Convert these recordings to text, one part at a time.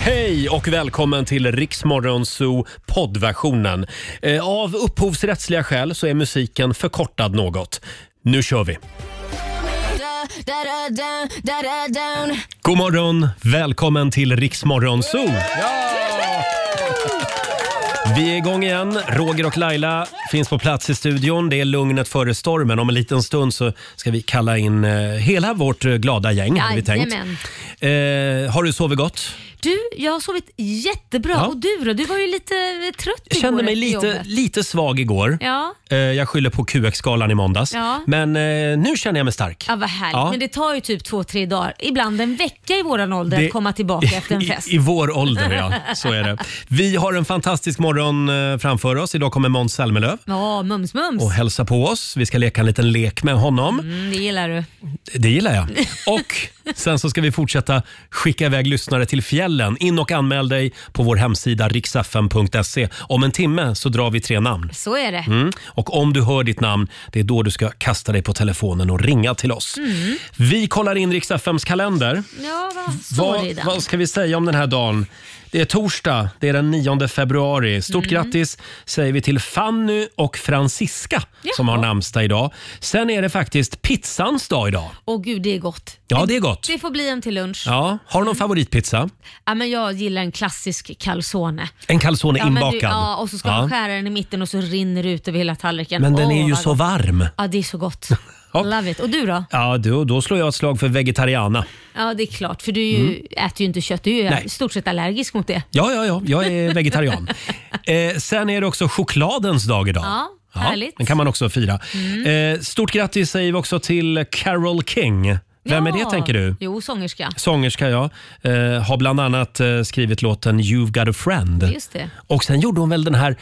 Hej och välkommen till Riksmorgon Zoo poddversionen. Eh, Av upphovsrättsliga skäl så är musiken förkortad något. Nu kör vi! God morgon! Välkommen till Riksmorgon Zoo! Vi är igång igen. Roger och Laila finns på plats i studion. Det är lugnet före stormen. Om en liten stund så ska vi kalla in eh, hela vårt eh, glada gäng. Hade vi tänkt. Jajamän. Eh, har du sovit gott? Du, jag har sovit jättebra. Ja. Och du då? Du var ju lite eh, trött Jag kände igår mig efter lite, jobbet. lite svag igår. Ja. Eh, Jag skyller på QX-galan i måndags. Ja. Men eh, nu känner jag mig stark. Ja, vad härligt. Ja. Men det tar ju typ två, tre dagar. Ibland en vecka i våran ålder Det- att komma tillbaka efter en fest. I, I vår ålder, ja. Så är det. Vi har en fantastisk morgon eh, framför oss. Idag kommer Måns Zelmerlöw Ja, mums mums. och hälsa på oss. Vi ska leka en liten lek med honom. Mm, det gillar du. Det gillar jag. Och sen så ska vi fortsätta skicka iväg lyssnare till fjällen. In och anmäl dig på vår hemsida riksfm.se. Om en timme så drar vi tre namn. Så är det. Mm. Och om du hör ditt namn, det är då du ska kasta dig på telefonen och ringa till oss. Mm. Vi kollar in Rix FMs kalender. Ja, vad står Vad, det i den? vad ska vi säga om den här dagen? Det är torsdag, det är den 9 februari. Stort Mm. grattis säger vi till Fanny och Franziska som har Jaha. namnsdag idag. Sen är det faktiskt pizzans dag idag. Åh gud, det är gott. Ja, det är gott. Det får bli en till lunch. Ja. Ja, har du någon favoritpizza? men jag gillar en klassisk calzone. En calzone Ja, men inbakad. du, ja, och så ska man skära den i mitten och så rinner det ut över hela tallriken. Men den Åh, är ju vad så gott. varm. Ja, det är så gott. Ja. Love it. Och du då? Ja, då, då slår jag ett slag för vegetariana. Ja, det är klart. För du är ju, äter ju inte kött. Du är ju Mm. Nej. i stort sett allergisk mot det. Ja, ja, ja. Jag är vegetarian. eh, sen är det också chokladens dag idag. Ja, härligt. Den kan man också fira. Eh, stort grattis säger vi också till Carole King. Vem är det tänker du? Jo, sångerska. Sångerska, ja. Eh, har bland annat eh, skrivit låten You've got a friend. Just det. Och sen gjorde hon väl den här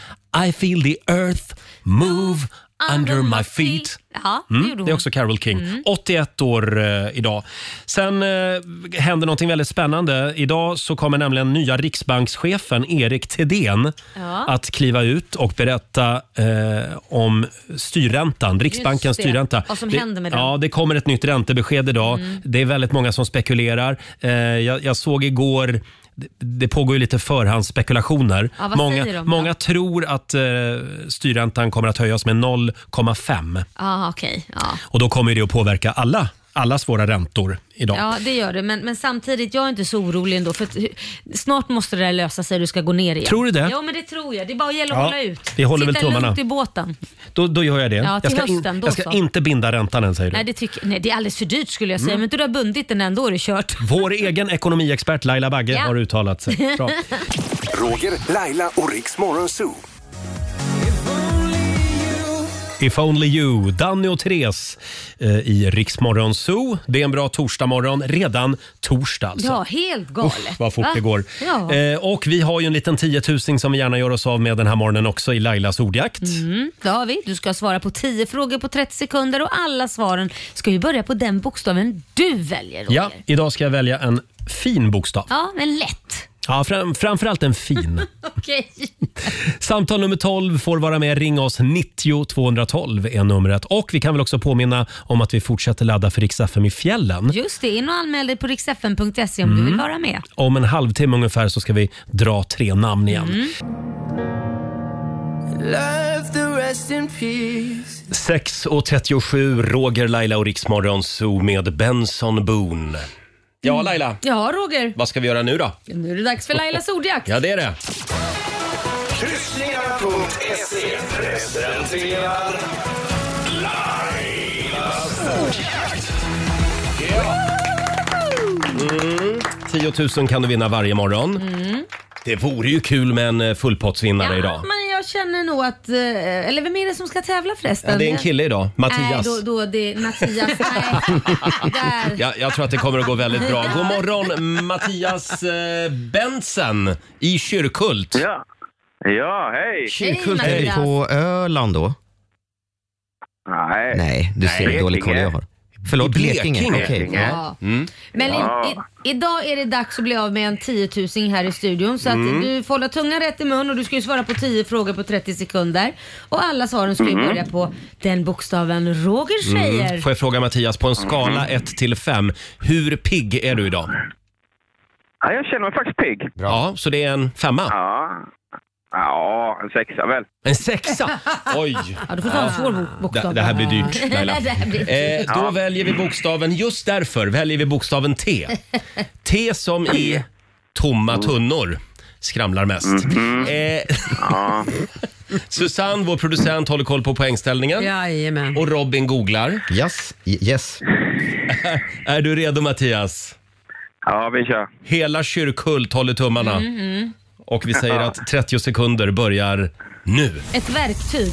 I feel the earth move under my feet. Mm, Ja, det gjorde hon. Mm. Det är också Carole King. 81 år eh, idag. Sen eh, händer någonting väldigt spännande. Idag så kommer nämligen nya riksbankschefen Erik Thedéen Ja. att kliva ut och berätta eh, om styrräntan, Riksbankens Just det. styrränta. Vad som det, händer med den. Mm. Ja, det kommer ett nytt räntebesked idag. Det är väldigt många som spekulerar. Eh, jag, jag såg igår det- det pågår ju lite förhandsspekulationer. Ja, vad många säger de då? många tror att eh, styrräntan kommer att höjas med 0,5. Ja, okej. Ja. Och då kommer det att påverka alla, allas våra räntor idag. ja, det gör det. Men, men samtidigt, jag är inte så orolig ändå. För att, hu- snart måste det där lösa sig och du ska gå ner igen. Tror du det? Ja, men det tror jag. Det är bara att gälla att Ja, hålla ut. vi håller väl Sitta tummarna. lugnt i båten. Då, då gör jag det. Ja, jag till ska, hösten, då jag ska så. inte binda räntan än, säger du. Nej det, tycker, nej, det är alldeles för dyrt skulle jag säga. Mm. Men du har bundit den ändå är det kört. Vår egen ekonomiexpert Laila Bagge Ja. har uttalat sig. Bra. Roger, Laila och Riks Morgonzoo. If only you, Danny och Therese eh, i Riksmorgon Zoo. Det är en bra torsdagmorgon. Redan torsdag alltså. Ja, helt galet. Uff, vad fort va? det går. Ja. Eh, och vi har ju en liten tiotusing som vi gärna gör oss av med den här morgonen också i Lailas ordjakt. Mm, det har vi. Du ska svara på 10 frågor på 30 sekunder och alla svaren ska ju börja på den bokstaven du väljer Roger. Ja, idag ska jag välja en fin bokstav. ja men lätt. Ja, fram, framförallt en fin. Okej. Samtal nummer 12 får vara med. Ring oss. 90 212 är numret. Och Vi kan väl också påminna om att vi fortsätter ladda för Rix FM i fjällen. Just det, in och anmäl dig på riksfn.se om du Mm. vill vara med. Om en halvtimme ungefär så ska vi dra tre namn igen. Love the rest in peace. 6.37, Roger, Laila och Riksmorgon Zoo med Benson Boone. Ja, Laila. Ja Roger, Vad ska vi göra nu då? nu är det dags för Lailas ordjakt. Ja, det är det. Kryssningar.se presenterar Lailas 10 000 Mm. kan du vinna varje morgon. Det vore ju kul med en eh, fullpottsvinnare idag. Mm. men jag känner nog att, eh, eller vem är det som ska tävla förresten? Ja, det är en kille idag, Mattias. Nej, då, då det, Mattias, nej. Där. Ja, jag tror att det kommer att gå väldigt bra. God morgon Mattias eh, Bensen i Kyrkult. Ja. Ja, hej! Kyrkhult är Mattias. på Öland då? Nej. Nej, du ser hur dålig koll jag har. Förlåt, I Blekinge. Blekinge. Okej. Blekinge. Ja. Mm. Men i, i, idag är det dags att bli av med en tiotusing här i studion. Så att Mm. du får hålla tungan rätt i mun och du ska ju svara på 10 frågor på 30 sekunder. Och alla svaren ska ju Mm. börja på den bokstaven Roger säger. Mm. Får jag fråga Mattias, på en skala 1 till 5, hur pigg är du idag? Ja, jag känner mig faktiskt pigg. Ja, så det är en femma. Ja. ja, en sexa väl. En sexa! Oj! Ja, du får ta en svår bok- Det, bokstav. Ah. det här blir dyrt Laila. Det här blir dyrt. Eh, då väljer vi bokstaven, just därför väljer vi bokstaven T. T som Mm. i tomma tunnor skramlar mest. Mm-hmm. Eh, Ja. Susanne, vår producent, håller koll på poängställningen. Jajamän. Och Robin googlar. Yes. yes. Är du redo Mattias? ja, vi kör. Hela Kyrkhult håller tummarna. Och vi säger att 30 sekunder börjar nu. Ett verktyg.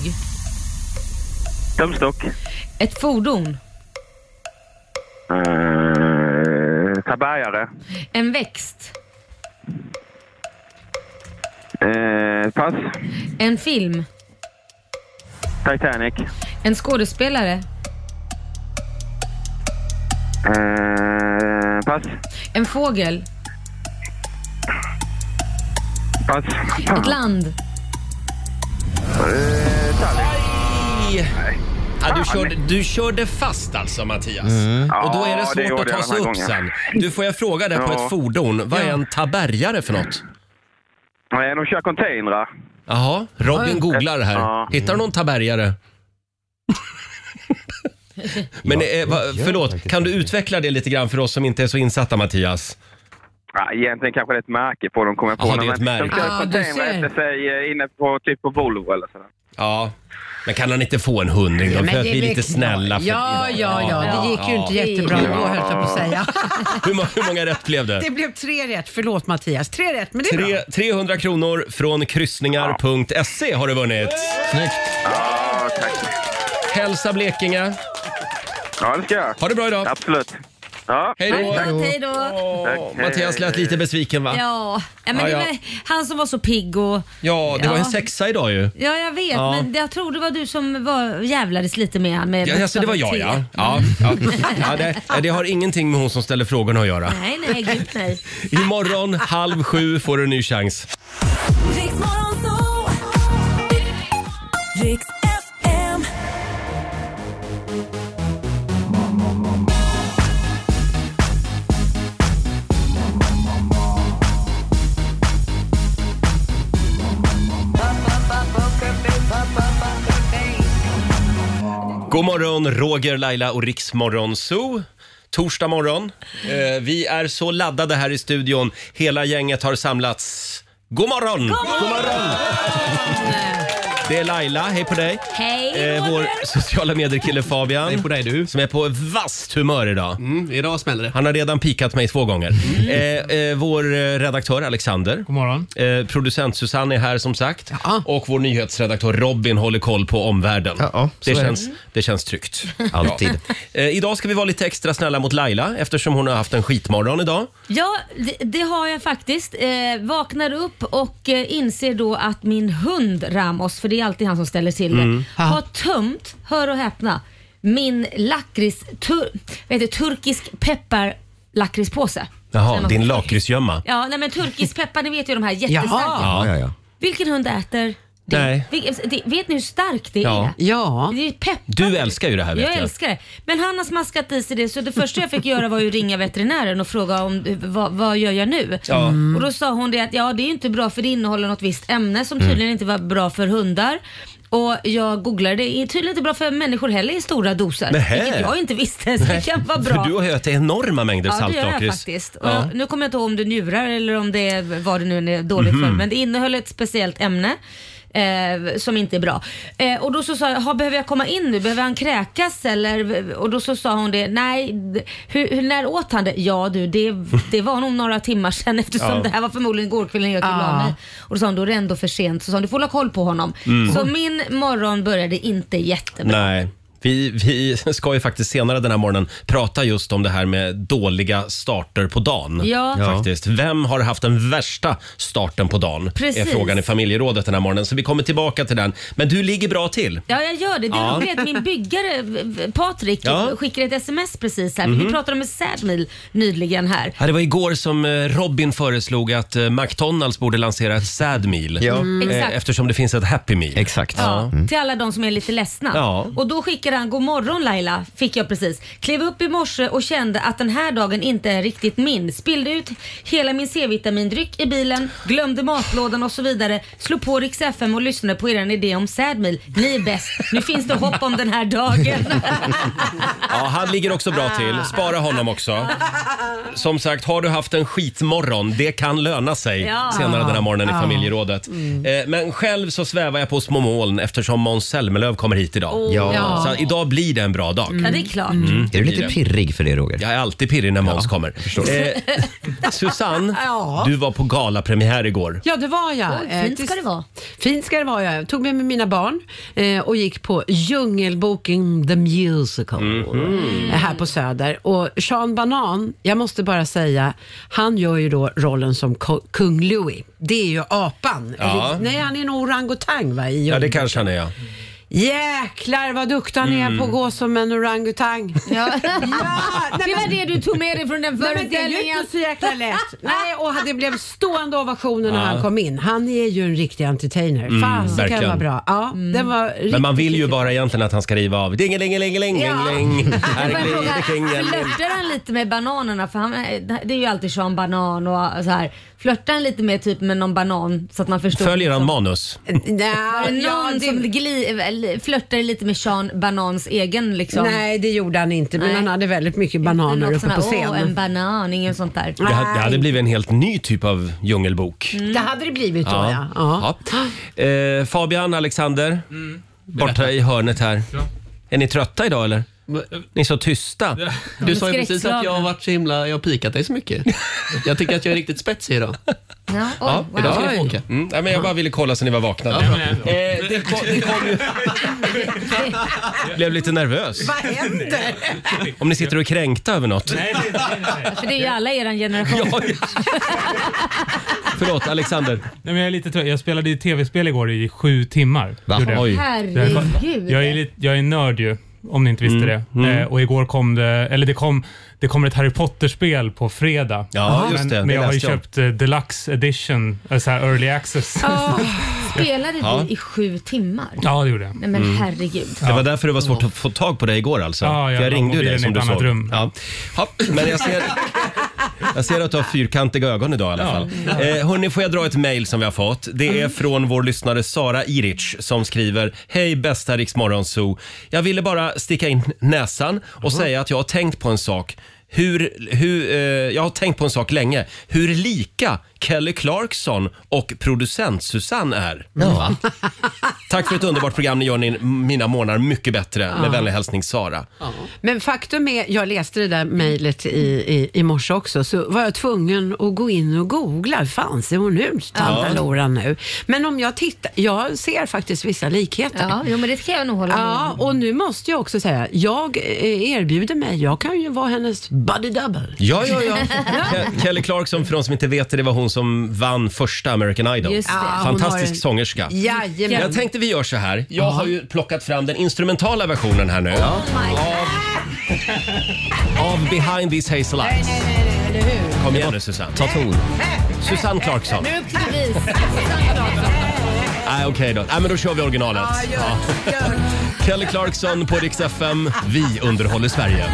Tumstock. Ett fordon. Eh, Tabärgare. En växt. Eh, pass. En film. Titanic. En skådespelare. Eh, pass. En fågel. Pass. Ett land. Ja, du, körde, du körde fast alltså Mattias. Och då är Ja, det det svårt gjorde att ta jag sig den upp här sen. gången. Du får jag fråga dig på Ja. ett fordon, vad är en tabergare för något? Eh, de kör containrar. Jaha, Robin googlar här. Ja. Hittar du någon tabergare? Men eh, va, förlåt, kan du utveckla det lite grann för oss som inte är så insatta Mattias? Ja, egentligen kanske det är ett märke på dem, kommer jag på. Jaha, nu, det är ett men märke. De kör Ah, du containrar ser. efter sig eh, inne på typ på Volvo eller sådär. Ja, men kan han inte få en hundring då? Men För att det vi väl är lite klart. snälla. För Ja, ja, ja. Det gick ju inte jättebra då höll jag på att säga. Hur, må- hur många rätt blev det? Det blev tre rätt. Förlåt Mattias. Tre rätt, men det är bra. Tre, 300 kronor från kryssningar.se har du vunnit. Ja, tack. Hälsa Blekinge. Ja, det ska jag. Ha det bra idag. Absolut. Ja. Hej då. Tack, hej då. Åh, Mattias lät lite besviken va? Ja, ja, men Ja, det ja. var han som var så pigg och... Ja, det var Ja. en sexa idag ju. Ja, jag vet, Ja. men jag tror det var du som var, jävlades lite med han med Ja, alltså det var jag bokstaven ja. T. ja, ja. ja det, det har ingenting med hon som ställer frågorna att göra. Nej, nej, gud nej. Imorgon halv sju får du en ny chans. Riks FM. God morgon, Roger, Laila och Riksmorgon Zoo. Torsdag morgon. Eh, vi är så laddade här i studion. Hela gänget har samlats. God morgon! God morgon! Det är Laila, hej på dig. Hej Eh, vår sociala medier-kille Fabian. Hej på dig du. Som är på vasst humör idag. Mm, idag smäller det. Han har redan pikat mig två gånger. Eh, eh, vår eh, redaktör Alexander. God morgon. Eh, producent Susanne är här som sagt. Ja. Och vår nyhetsredaktör Robin håller koll på omvärlden. Ja, ja, så det, är det. känns, det känns tryggt. Alltid. Eh, idag ska vi vara lite extra snälla mot Laila eftersom hon har haft en skitmorgon idag. Ja, det, det har jag faktiskt. Eh, vaknar upp och eh, inser då att min hund Ramos, för det är alltid han som ställer till det, Mm. har tömt, hör och häpna, min lakrits, tur, vad heter, det, turkisk pepparlakritspåse. Säger Jaha, man så? din lakritsgömma. Ja, nej men turkisk peppar, ni vet ju de här jättestarka. Jaha. Ja, ja, ja. Vilken hund äter det? Nej. Vil- det- Vet ni hur starkt det Ja. är? Ja. Det är peppar. Du älskar ju det här vet jag, jag. älskar det. Men han har smaskat i sig det så det första jag fick göra var ju ringa veterinären och fråga om eh, vad, vad gör jag nu? Mm. Ja. Och då sa hon det att ja det är ju inte bra för det innehåller något visst ämne som tydligen Mm. inte var bra för hundar. Och jag googlade det, är tydligen inte bra för människor heller i stora doser. Nähä. Vilket jag inte visste så det kan vara bra. För du har ju ätit enorma mängder Ja, det gör jag saltlakrits. faktiskt. Och Ja. jag, nu kommer jag inte ihåg om det är njurar eller om det är vad det nu är dåligt för. Mhm. Men det innehöll ett speciellt ämne. Eh, som inte är bra. Eh, och då så sa jag, "Ha, behöver jag komma in nu? Behöver han kräkas eller? Och då så sa hon det, nej, d- hur, hur, när åt han det? Ja du, det, det var nog några timmar sedan eftersom Ja. Ah. det här var förmodligen igår kväll när jag gick och la Ja. mig. Och då sa hon, då är det ändå för sent. Så sa hon, du får hålla koll på honom. Mm. Så min morgon började inte jättebra. Nej. Vi, vi ska ju faktiskt senare den här morgonen prata just om det här med dåliga starter på dagen. Ja. Ja. Faktiskt. Vem har haft den värsta starten på dagen? Är Precis. frågan i familjerådet den här morgonen. Så vi kommer tillbaka till den. Men du ligger bra till. Ja, jag gör det. Det Ja. är roligt att min byggare v- v- Patrik Ja. Mhm. skickade ett sms precis här. för Vi pratade om en sadmil nyligen här. Ja, det var igår som eh, Robin föreslog att eh, McDonalds borde lansera ett sad meal. Ja. Eh, Mm. Exakt. Eftersom det finns ett happy meal. Exakt. Ja, Till alla de som är lite ledsna. Mm. Ja. Och då skickade restaurang God morgon Laila, fick jag precis. Klev upp i morse och kände att den här dagen inte är riktigt min. Spillde ut hela min C-vitamindryck i bilen, glömde matlådan och så vidare. Slog på Rix FM och lyssnade på er idé om Sadmil. Ni är bäst. Nu finns det hopp om den här dagen. Ja, han ligger också bra Ah. till. Spara honom också. Som sagt, har du haft en skitmorgon, det kan löna sig Ja. senare den här morgonen i Ja. Mm. familjerådet. Eh, Men själv så svävar jag på små moln eftersom Måns Zelmerlöw kommer hit idag. Åh. Oh, Ja. Mm. Så idag blir det en bra dag. Ja, det är klart. Mm. Är du lite pirrig för det Roger? Jag är alltid pirrig när Måns kommer. Eh, Susanne, Ja. du var på galapremiär igår. Ja, det var jag. Oj, Eh, fint till- ska det vara. Fint ska det vara. Jag tog med mig mina barn eh, och gick på Djungelboken the Musical Mhm. eh, här på Söder. Och Sean Banan, jag måste bara säga, han gör ju då rollen som ko- kung Louis. Det är ju apan. Ja. Eller, nej, han är en orangutang va? I Ja, det Djungelboken. kanske han är ja. Jäklar vad duktig han Mm. är på att gå som en orangutang. Ja. nej, Det var det du tog med dig från den Nej, men det är ju föreställningen. inte så jäkla lätt. Nej, och det blev stående ovationer när Ja. Mm, han kom in. Han är ju en riktig entertainer. Fasiken verkligen. var bra. Ja, Mm. den var Men riktigt, man vill ju riktigt- bara egentligen att han ska riva av. Dingelingelingelingeling. Här Får jag fråga, glider kingen. flörtar han lite med bananerna? För han, eh, det är ju alltid Sean Banan och eh, så här. Flörtar han lite med typ med någon banan så att man förstår? Följer han liksom? manus? Nej, Var det ja, någon det- som gli, flörtade lite med Sean Banans egen liksom? Nej, det gjorde han inte. Men Nej. han hade väldigt mycket Inte bananer något uppe sån här, på Åh, en scenen. banan, inget sånt där. Det hade, det hade blivit en helt ny typ av djungelbok. Det hade det blivit Mm, då ja. ja. Ja. Eh, Fabian, Alexander, Mm. borta i hörnet här. Är ni trötta idag eller? Ni är så tysta. Du sa ju precis att jag har Skräckslagna. varit så himla, jag har pikat dig så mycket. Jag tycker att jag är riktigt spetsig idag. Ja, oj, wow. Idag ska du få åka. Mm, nej, men jag bara ville kolla så ni var vakna. Eh, det, kom, det kom ju... Blev lite nervös. Vad händer? Om ni sitter och är kränkta över något. För det är ju alla i eran generation. Ja, ja. Förlåt, Alexander. Nej, men jag är lite trött. Jag spelade ju tv-spel igår i sju timmar. Va? Gjorde jag. Oj. Herregud. Jag är, lite, jag är nörd ju, om ni inte visste det. Eh, och igår kom det, eller det kom, det kommer ett Harry Potter-spel på fredag. Ja, Men, just det. Det men jag har ju läste jag. köpt eh, deluxe edition, eh, så här early access. Spelade Ja. du i sju timmar? Ja, det gjorde jag. Nej men Mm. herregud. Det var därför det var svårt att få tag på dig igår alltså. Ja, ja, jag ringde ju mobilen dig i som ett du annat såg. rum. Ja. Ja, men jag ser, jag ser att du har fyrkantiga ögon idag i alla fall. Eh, hörni, får jag dra ett mejl som vi har fått? Det Mm. är från vår lyssnare Sara Iric som skriver Hej bästa Rix Morgon Zoo. Jag ville bara sticka in näsan Mm-hmm. och säga att jag har tänkt på en sak. Hur, hur, eh, jag har tänkt på en sak länge. Hur lika Kelly Clarkson och producent Susanne är. Ja. Tack för ett underbart program. Ni gör ni, mina månader mycket bättre. Med vänlig hälsning Sara. Men faktum är, jag läste det där mejlet i, i, i morse också, så var jag tvungen att gå in och googla. Hur fan ser hon ut, tanta Lora nu? Men om jag tittar, jag ser faktiskt vissa likheter. Ja, Ja. jo, men det kan jag nog hålla med om. och nu måste jag också säga, jag eh, erbjuder mig, jag kan ju vara hennes buddy double. Ja, ja, ja. Ke- Kelly Clarkson, för de som inte vet det, det var hon som vann första American Idol. Just det. Ja, hon Fantastisk har en- sångerska. Jajamän. Jag tänkte vi gör så här. Jag har ju plockat fram den instrumentala versionen Oh här nu. Av, av Behind These Hazel Eyes. Kom igen nu Susanne. Ta ton. Susanne Clarkson. Nu upp till bevis. Nej, okej då. Nej, men då kör vi originalet. Ja. Kelly Clarkson på Rix FM. Vi underhåller Sverige.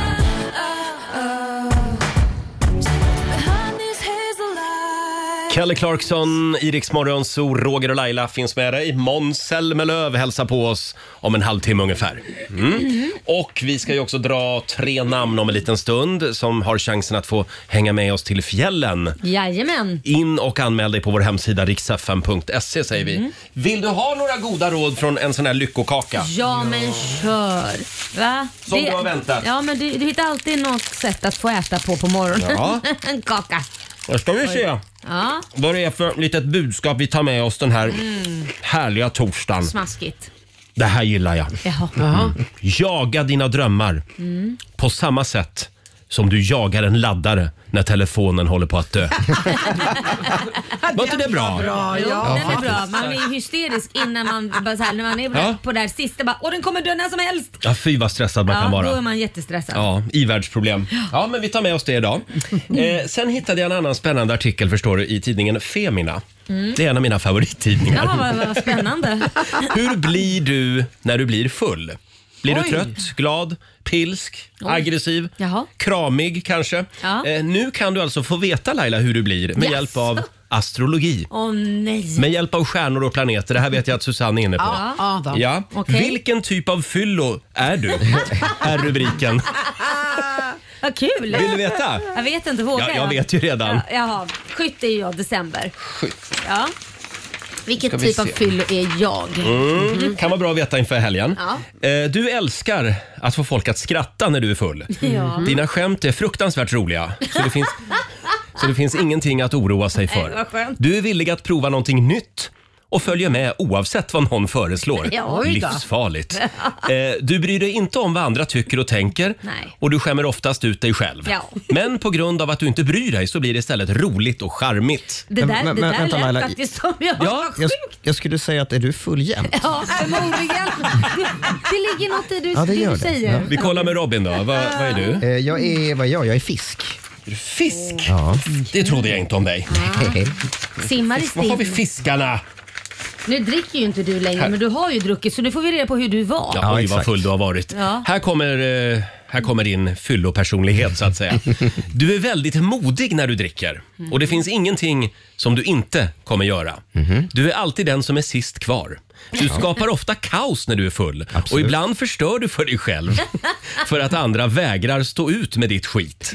Kelly Clarkson, Iriks morgonzoo, Roger och Laila finns med dig. Måns Zelmerlöw hälsar på oss om en halvtimme ungefär. Mm. Och vi ska ju också dra tre namn om en liten stund som har chansen att få hänga med oss till fjällen. Jajamän. In och anmäl dig på vår hemsida riksfm.se E, säger vi. Vill du ha några goda råd från en sån här lyckokaka? Ja men kör. Va? Som du har väntat. Ja men du, du hittar alltid något sätt att få äta på på morgonen. Ja. en kaka. Nu ska vi se Ja, vad det är för litet budskap vi tar med oss den här härliga torsdagen. smaskigt. Det här gillar jag. Jaha. Jaga dina drömmar på samma sätt som du jagar en laddare när telefonen håller på att dö. Var inte det bra? Jo, den är bra. Man är hysterisk innan man, bara så här, när man är Ja. på det här sista bara, åh den kommer dö när som helst. Ja, fy vad stressad man Ja, kan vara. då är man jättestressad. Ja, ivärldsproblem. Ja, men vi tar med oss det idag. Eh, sen hittade jag en annan spännande artikel förstår du, i tidningen Femina. Det är en av mina favorittidningar. Mm. Ja, vad, vad spännande. Hur blir du när du blir full? Blir du Oj. trött, glad, pilsk, aggressiv, Jaha. kramig kanske? Ja. Eh, nu kan du alltså få veta Laila hur du blir med Yes. hjälp av astrologi. Åh nej. Med hjälp av stjärnor och planeter. Det här vet jag att Susanne är inne på. Ja, ja då. Ja. Okej. Vilken typ av fyllo är du? är rubriken. Vad kul. Vill du veta? Jag vet inte, vågar Ja, jag vet ju redan. Ja, jaha, skytt är ju jag, december. Ja. Vilket typ av fyllo är jag? Mm. Kan vara bra att veta inför helgen. mm. Ja. Eh, Du älskar att få folk att skratta när du är full. Ja. Dina skämt är fruktansvärt roliga. Så det finns, så det finns ingenting att oroa sig Nej, för. vad skönt. Du är villig att prova någonting nytt och följer med oavsett vad någon föreslår. Ja, oj då. Livsfarligt. Eh, Du bryr dig inte om vad andra tycker och tänker Nej. och du skämmer oftast ut dig själv. Ja. Men på grund av att du inte bryr dig så blir det istället roligt och charmigt. Det där, Men- men- det där vänta, lät Laila. faktiskt som jag. Ja, Jag, jag skulle säga att är du full jämt? Ja, förmodligen. Det, det ligger något i det, Ja, det det gör du det. säger. Vi kollar med Robin då. Vad, vad är du? Eh, Jag är, vad är jag? Jag är fisk. Fisk? Ja. Det trodde jag inte om dig. Simmar i Vad har vi stim. fiskarna? Nu dricker ju inte du längre, men du har ju druckit så nu får vi reda på hur du var. Ja, oj vad exakt. full du har varit. Ja. Här, kommer, eh, här kommer din fyllopersonlighet så att säga. Du är väldigt modig när du dricker och det finns ingenting som du inte kommer göra. Mhm. Du är alltid den som är sist kvar. Du skapar ofta kaos när du är full och ibland förstör du för dig själv för att andra vägrar stå ut med ditt skit.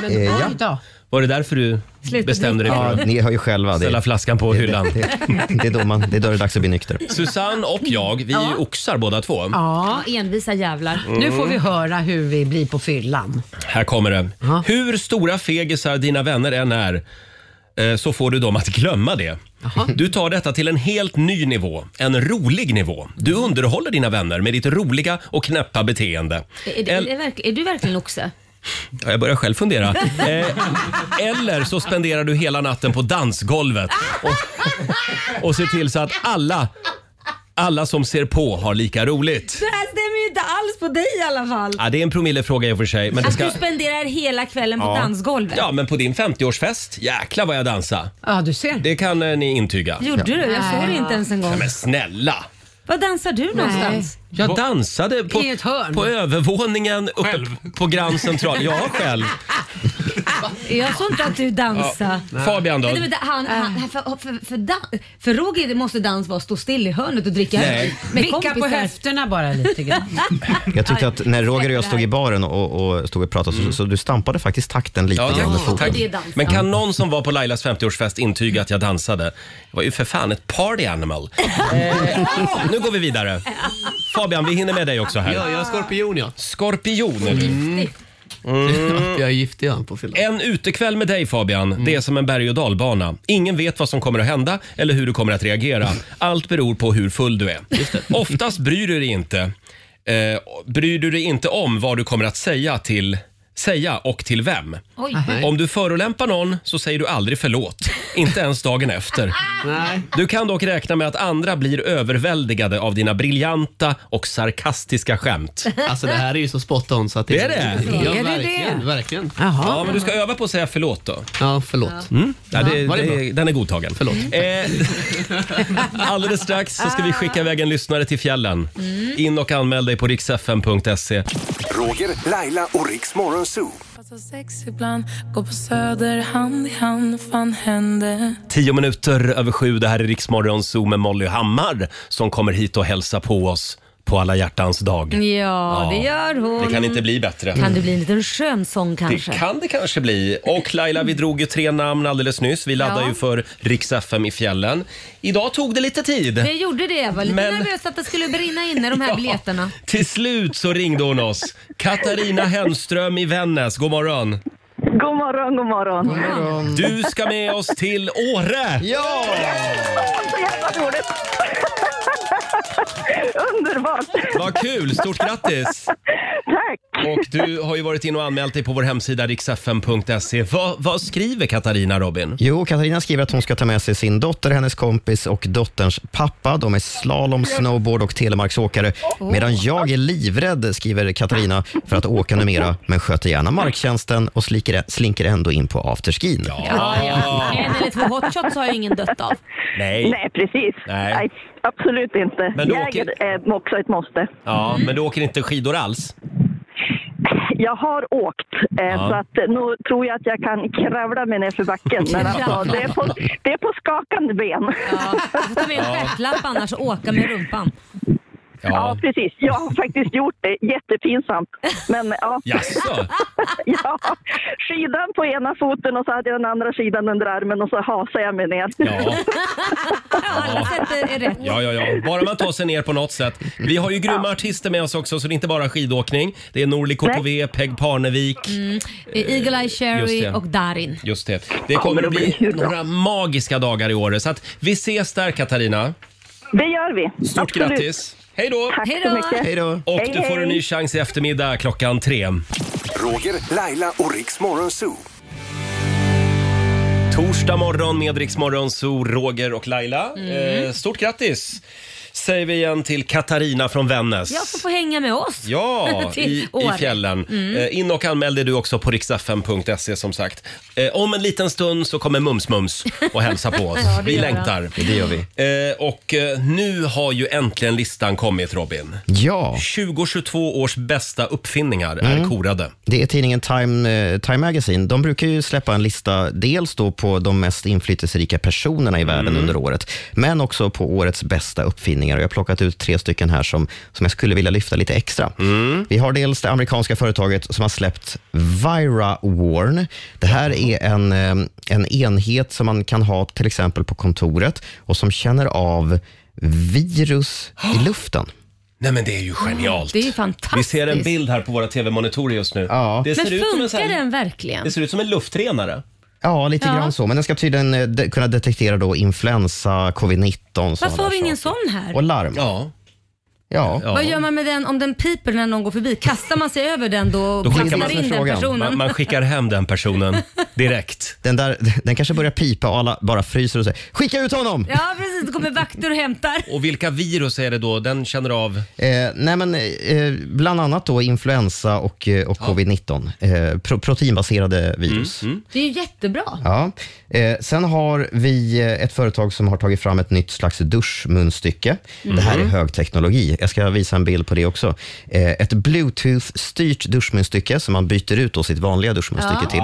Men, Eh, ja. oj då. Var det därför du Sluta bestämde dig för Ja, att ni hör ju själva. ställa Det, flaskan på hyllan? det, det, är då man, det är då det är dags att bli nykter. Susanne och jag, vi är ju oxar båda två. Ja, Ja, envisa jävlar. Mm. nu får vi höra hur vi blir på fyllan. Här kommer det. Ja. Hur stora fegisar dina vänner än är eh, så får du dem att glömma det. Du tar detta till en helt ny nivå, en rolig nivå. Du underhåller dina vänner med ditt roliga och knäppa beteende. Är, är, El- är, verk- är du verkligen oxe? Ja, jag börjar själv fundera. Eh, eller så spenderar du hela natten på dansgolvet och, och ser till så att alla, alla som ser på har lika roligt. Det här stämmer ju inte alls på dig i alla fall. Ja, det är en promillefråga i och för sig. Men det Att ska, du spenderar hela kvällen på dansgolvet. ja, men på din 50-årsfest, jäklar vad jag dansade. Ja, du ser. Det kan eh, ni intyga. Gjorde du? Jag såg det Nej. inte ens en gång. Men snälla! Var dansar du någonstans? Jag dansade på, I ett hörn. på övervåningen uppe Själv? på Grand Central. Jag själv. Jag såg inte att du dansade. Fabian då? Vänta, vänta, han, han, för, för, för, dan- för Roger måste dans vara att stå still i hörnet och dricka Nej. öl med Vicka på kompisar. höfterna bara lite grann. Jag tyckte att när Roger och jag stod i baren och, och stod och pratade så, så du stampade faktiskt takten lite Ja, grann med tack. foten. Det är dans. Men kan någon som var på Lailas 50-årsfest intyga att jag dansade? Det var ju för fan ett party animal. Eh, nu går vi vidare. Fabian, vi hinner med dig också Ja, här. jag är skorpion ja. Skorpion är du. jag är giftig ja, på fyllan. En utekväll med dig Fabian, det är som en berg och dalbana. Ingen vet vad som kommer att hända eller hur du kommer att reagera. Allt beror på hur full du är. Oftast bryr du dig inte. Eh, bryr du dig inte om vad du kommer att säga till säga och till vem. Oj. Nej. Om du förolämpar någon så säger du aldrig förlåt. Inte ens dagen efter. Eh, Nej. Du kan dock räkna med att andra blir överväldigade av dina briljanta och sarkastiska skämt. Alltså det här är ju så spot on så att Det är det? Ja, Är det verkligen, det? verkligen. Ja, Jaha. men du ska öva på att säga förlåt då. Ja, förlåt. Mm. Ja, det, Var det det, den är godtagen. Förlåt. Eh, alldeles strax så ska vi skicka iväg en lyssnare till fjällen. Mm. In och anmäl dig på riksfn.se. Roger, Laila och Riks Morgonzoo. Tio minuter över sju. Det här är Riksmorgon Zoo med Molly Hammar som kommer hit och hälsar på oss på alla hjärtans dag. Ja, det gör hon. Det kan inte bli bättre. Mm. Kan det bli en liten skönsång Det kanske? kan det kanske bli. Och Laila, vi drog ju tre namn alldeles nyss. Vi laddar Ja. ju för Rix FM i fjällen. Idag tog det lite tid. Jag gjorde det. Jag var lite Men- nervös att det skulle brinna inne de här biljetterna. Till slut så ringde hon oss. Katarina Hemström i Vännäs, god morgon. God morgon, god morgon. Du ska med oss till Åre! Ja! Så jävla roligt. Underbart. Vad kul! Stort grattis! Tack. Och du har ju varit in och anmält dig på vår hemsida riksfm.se. Vad, vad skriver Katarina Robin? Jo, Katarina skriver att hon ska ta med sig sin dotter, hennes kompis och dotterns pappa. De är slalom, snowboard och telemarksåkare. Medan jag är livrädd, skriver Katarina, för att åka numera, men sköter gärna marktjänsten och slinker, slinker ändå in på afterskin. Ja, ja. En eller två hotshots har ju ingen dött av. Ah, Nej. Nej, precis. Nej. Nej. absolut inte. Men då Jäger åker- är också ett måste. Ja, men du åker inte skidor alls? Jag har åkt, eh, Ja. så att, eh, nu tror jag att jag kan kravla mig ner för backen. Men alltså, det, är på, det är på skakande ben. Ja, du får ta med en stjärtlapp annars och åka med rumpan. Ja. precis. Jag har faktiskt gjort det. Jättepinsamt. Men, ja. Jaså? ja. Skidan på ena foten och så hade jag den andra skidan under armen och så hasade jag mig ner. Ja. Alla sätt är är rätt. Ja, ja, ja. Bara man tar sig ner på något sätt. Vi har ju grymma artister med oss också, så det är inte bara skidåkning. Det är Norli KKV, Peg Parnevik. Eagle Eye Just Cherry det. och Darin. Just det. Det kommer att bli några magiska dagar i år. Så att vi ses där Katarina. Det gör vi. Stort Absolut. grattis! Hej då! Tack Hej så då. mycket. Hej då! Och Hej, du får en hej. ny chans i eftermiddag klockan tre. Roger, Laila och Riks Morgonzoo. Torsdag morgon med Rix Morgon, så Roger och Laila. Eh, stort grattis säger vi igen till Katarina från Vännäs. Jag får få hänga med oss. Ja, Till i, i Åre. Mm. fjällen. Eh, In och anmäl dig du också på riksfm.se som sagt. Eh, Om en liten stund så kommer Mums-Mums och hälsa på oss. Ja, det vi gör han. längtar. Det gör vi. Eh, Och eh, nu har ju äntligen listan kommit Robin. Ja, 2022 års bästa uppfinningar Mm. är korade. det är tidningen Time, eh, Time Magazine. De brukar ju släppa en lista, dels då på de mest inflytelserika personerna i världen under året, men också på årets bästa uppfinningar. Och jag har plockat ut tre stycken här som, som jag skulle vilja lyfta lite extra. Vi har dels det amerikanska företaget som har släppt ViraWarn. Det här är en, eh, en enhet som man kan ha till exempel på kontoret och som känner av virus i luften. Nej men det är ju genialt. Det är ju Vi fantastiskt. ser en bild här på våra tv-monitorer just nu. Ja. Det Men ser ut som en sån funkar här, den verkligen? Det ser ut som en luftrenare. Ja, lite Ja. grann så. Men den ska tydligen eh, de, kunna detektera då influensa, covid-19 Varför sådana har vi där ingen saker. sån här? Och larm. Ja. Ja. Ja. ja. Vad gör man med den om den piper när någon går förbi? Kastar man sig över den då och Då skickar kastar man in den frågan. personen? Man, man skickar hem den personen direkt. Den, där, den kanske börjar pipa och alla bara fryser och säger “Skicka ut honom!” Ja precis, då kommer vakter och hämtar. Och vilka virus är det då den känner av? eh, Nej men eh, bland annat då influensa och, eh, och covid-19. Eh, pro, proteinbaserade virus. Det är ju jättebra. Ja. Eh, sen har vi eh, ett företag som har tagit fram ett nytt slags duschmunstycke. Det här är högteknologi. Jag ska visa en bild på det också. Eh, ett bluetooth-styrt duschmunstycke som man byter ut då sitt vanliga duschmunstycke till.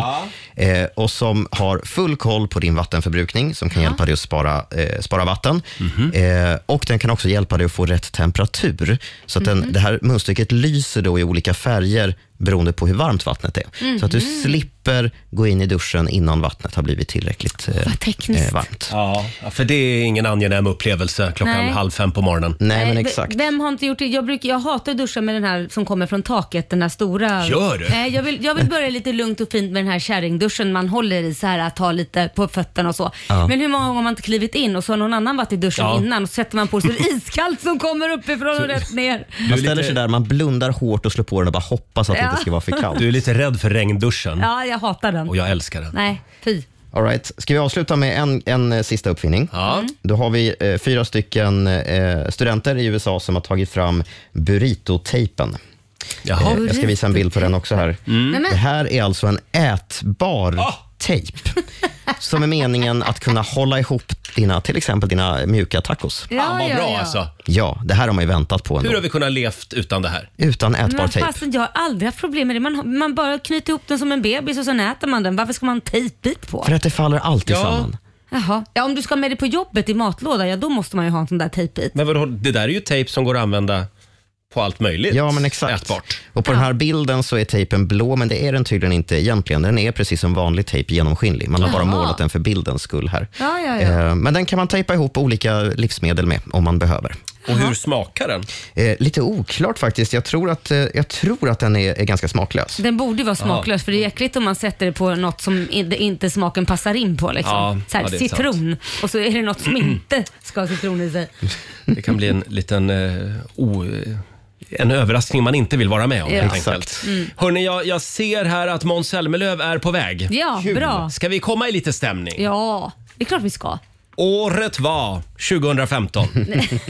Eh, och som har full koll på din vattenförbrukning som kan hjälpa dig att spara, eh, spara vatten. Mhm. Eh, och den kan också hjälpa dig att få rätt temperatur. Så att den, Mhm. det här munstycket lyser då i olika färger beroende på hur varmt vattnet är. Så att du Mhm. slipper gå in i duschen innan vattnet har blivit tillräckligt eh, Vad tekniskt. eh, varmt. Ja, för det är ingen angenäm upplevelse klockan Nej. halv fem på morgonen. Nej, men Nej, v- exakt. Vem har inte gjort det? Jag, brukar, jag hatar att duscha med den här som kommer från taket, den här stora. Gör du? Nej, jag vill, jag vill börja lite lugnt och fint med den här kärringduschen man håller i så här att ta lite på fötterna och så. Men hur många gånger har man inte klivit in och så har någon annan varit i duschen Ja. innan och så sätter man på sig det är iskallt som kommer uppifrån och rätt ner. Man ställer sig där, man blundar hårt och slår på den och bara hoppas att det Ja. inte ska vara för kallt. Du är lite rädd för regnduschen Ja, jag hatar den. Mm. och jag älskar den. Nej, fy. All right. Ska vi avsluta med en, en eh, sista uppfinning? Ja. Mm. Då har vi eh, fyra stycken eh, studenter i USA som har tagit fram burrito-tejpen. Jaha. Eh, jag ska visa en bild på den också här. Mm. Nej, Det men, här är alltså en ätbar Mm. Ah! tejp som är meningen att kunna hålla ihop dina, till exempel dina mjuka tacos. ja, Fan vad ja, bra ja. alltså. Ja, det här har man ju väntat på ändå. Hur har vi kunnat levt utan det här? Utan ätbar Men tejp. fastän jag har aldrig haft problem med det. Man, har- man bara knyter ihop den som en bebis och sen äter man den. Varför ska man ha en tejpbit på? För att det faller alltid Ja. samman. Jaha. Ja, om du ska med det på jobbet i matlåda, ja då måste man ju ha en sån där tejpbit. Men vadå, det där är ju tejp som går att använda på allt möjligt. Ja, men exakt. Ätbart. Och på den här bilden så är tejpen blå, men det är den tydligen inte egentligen. Den är precis som vanlig tejp genomskinlig. Man har bara Jaha. målat den för bildens skull här. Ja, ja, ja. Eh, Men den kan man tejpa ihop olika livsmedel med om man behöver. Och hur smakar den? Eh, Lite oklart faktiskt. Jag tror att, eh, jag tror att den är, är ganska smaklös. Den borde ju vara smaklös för det är äckligt om man sätter det på något som in- det inte smaken passar in på. Liksom. Ja, så här, ja, det är citron och så är det något som inte ska ha citron i sig. Det kan bli en liten eh, o, en överraskning man inte vill vara med om. Ja. Mm. helt Exakt. enkelt. Hörni, jag, jag ser här att Måns Zelmerlöw är på väg. Ja, Kul. bra. Ska vi komma i lite stämning? Ja, det är klart vi ska. Året var 2015.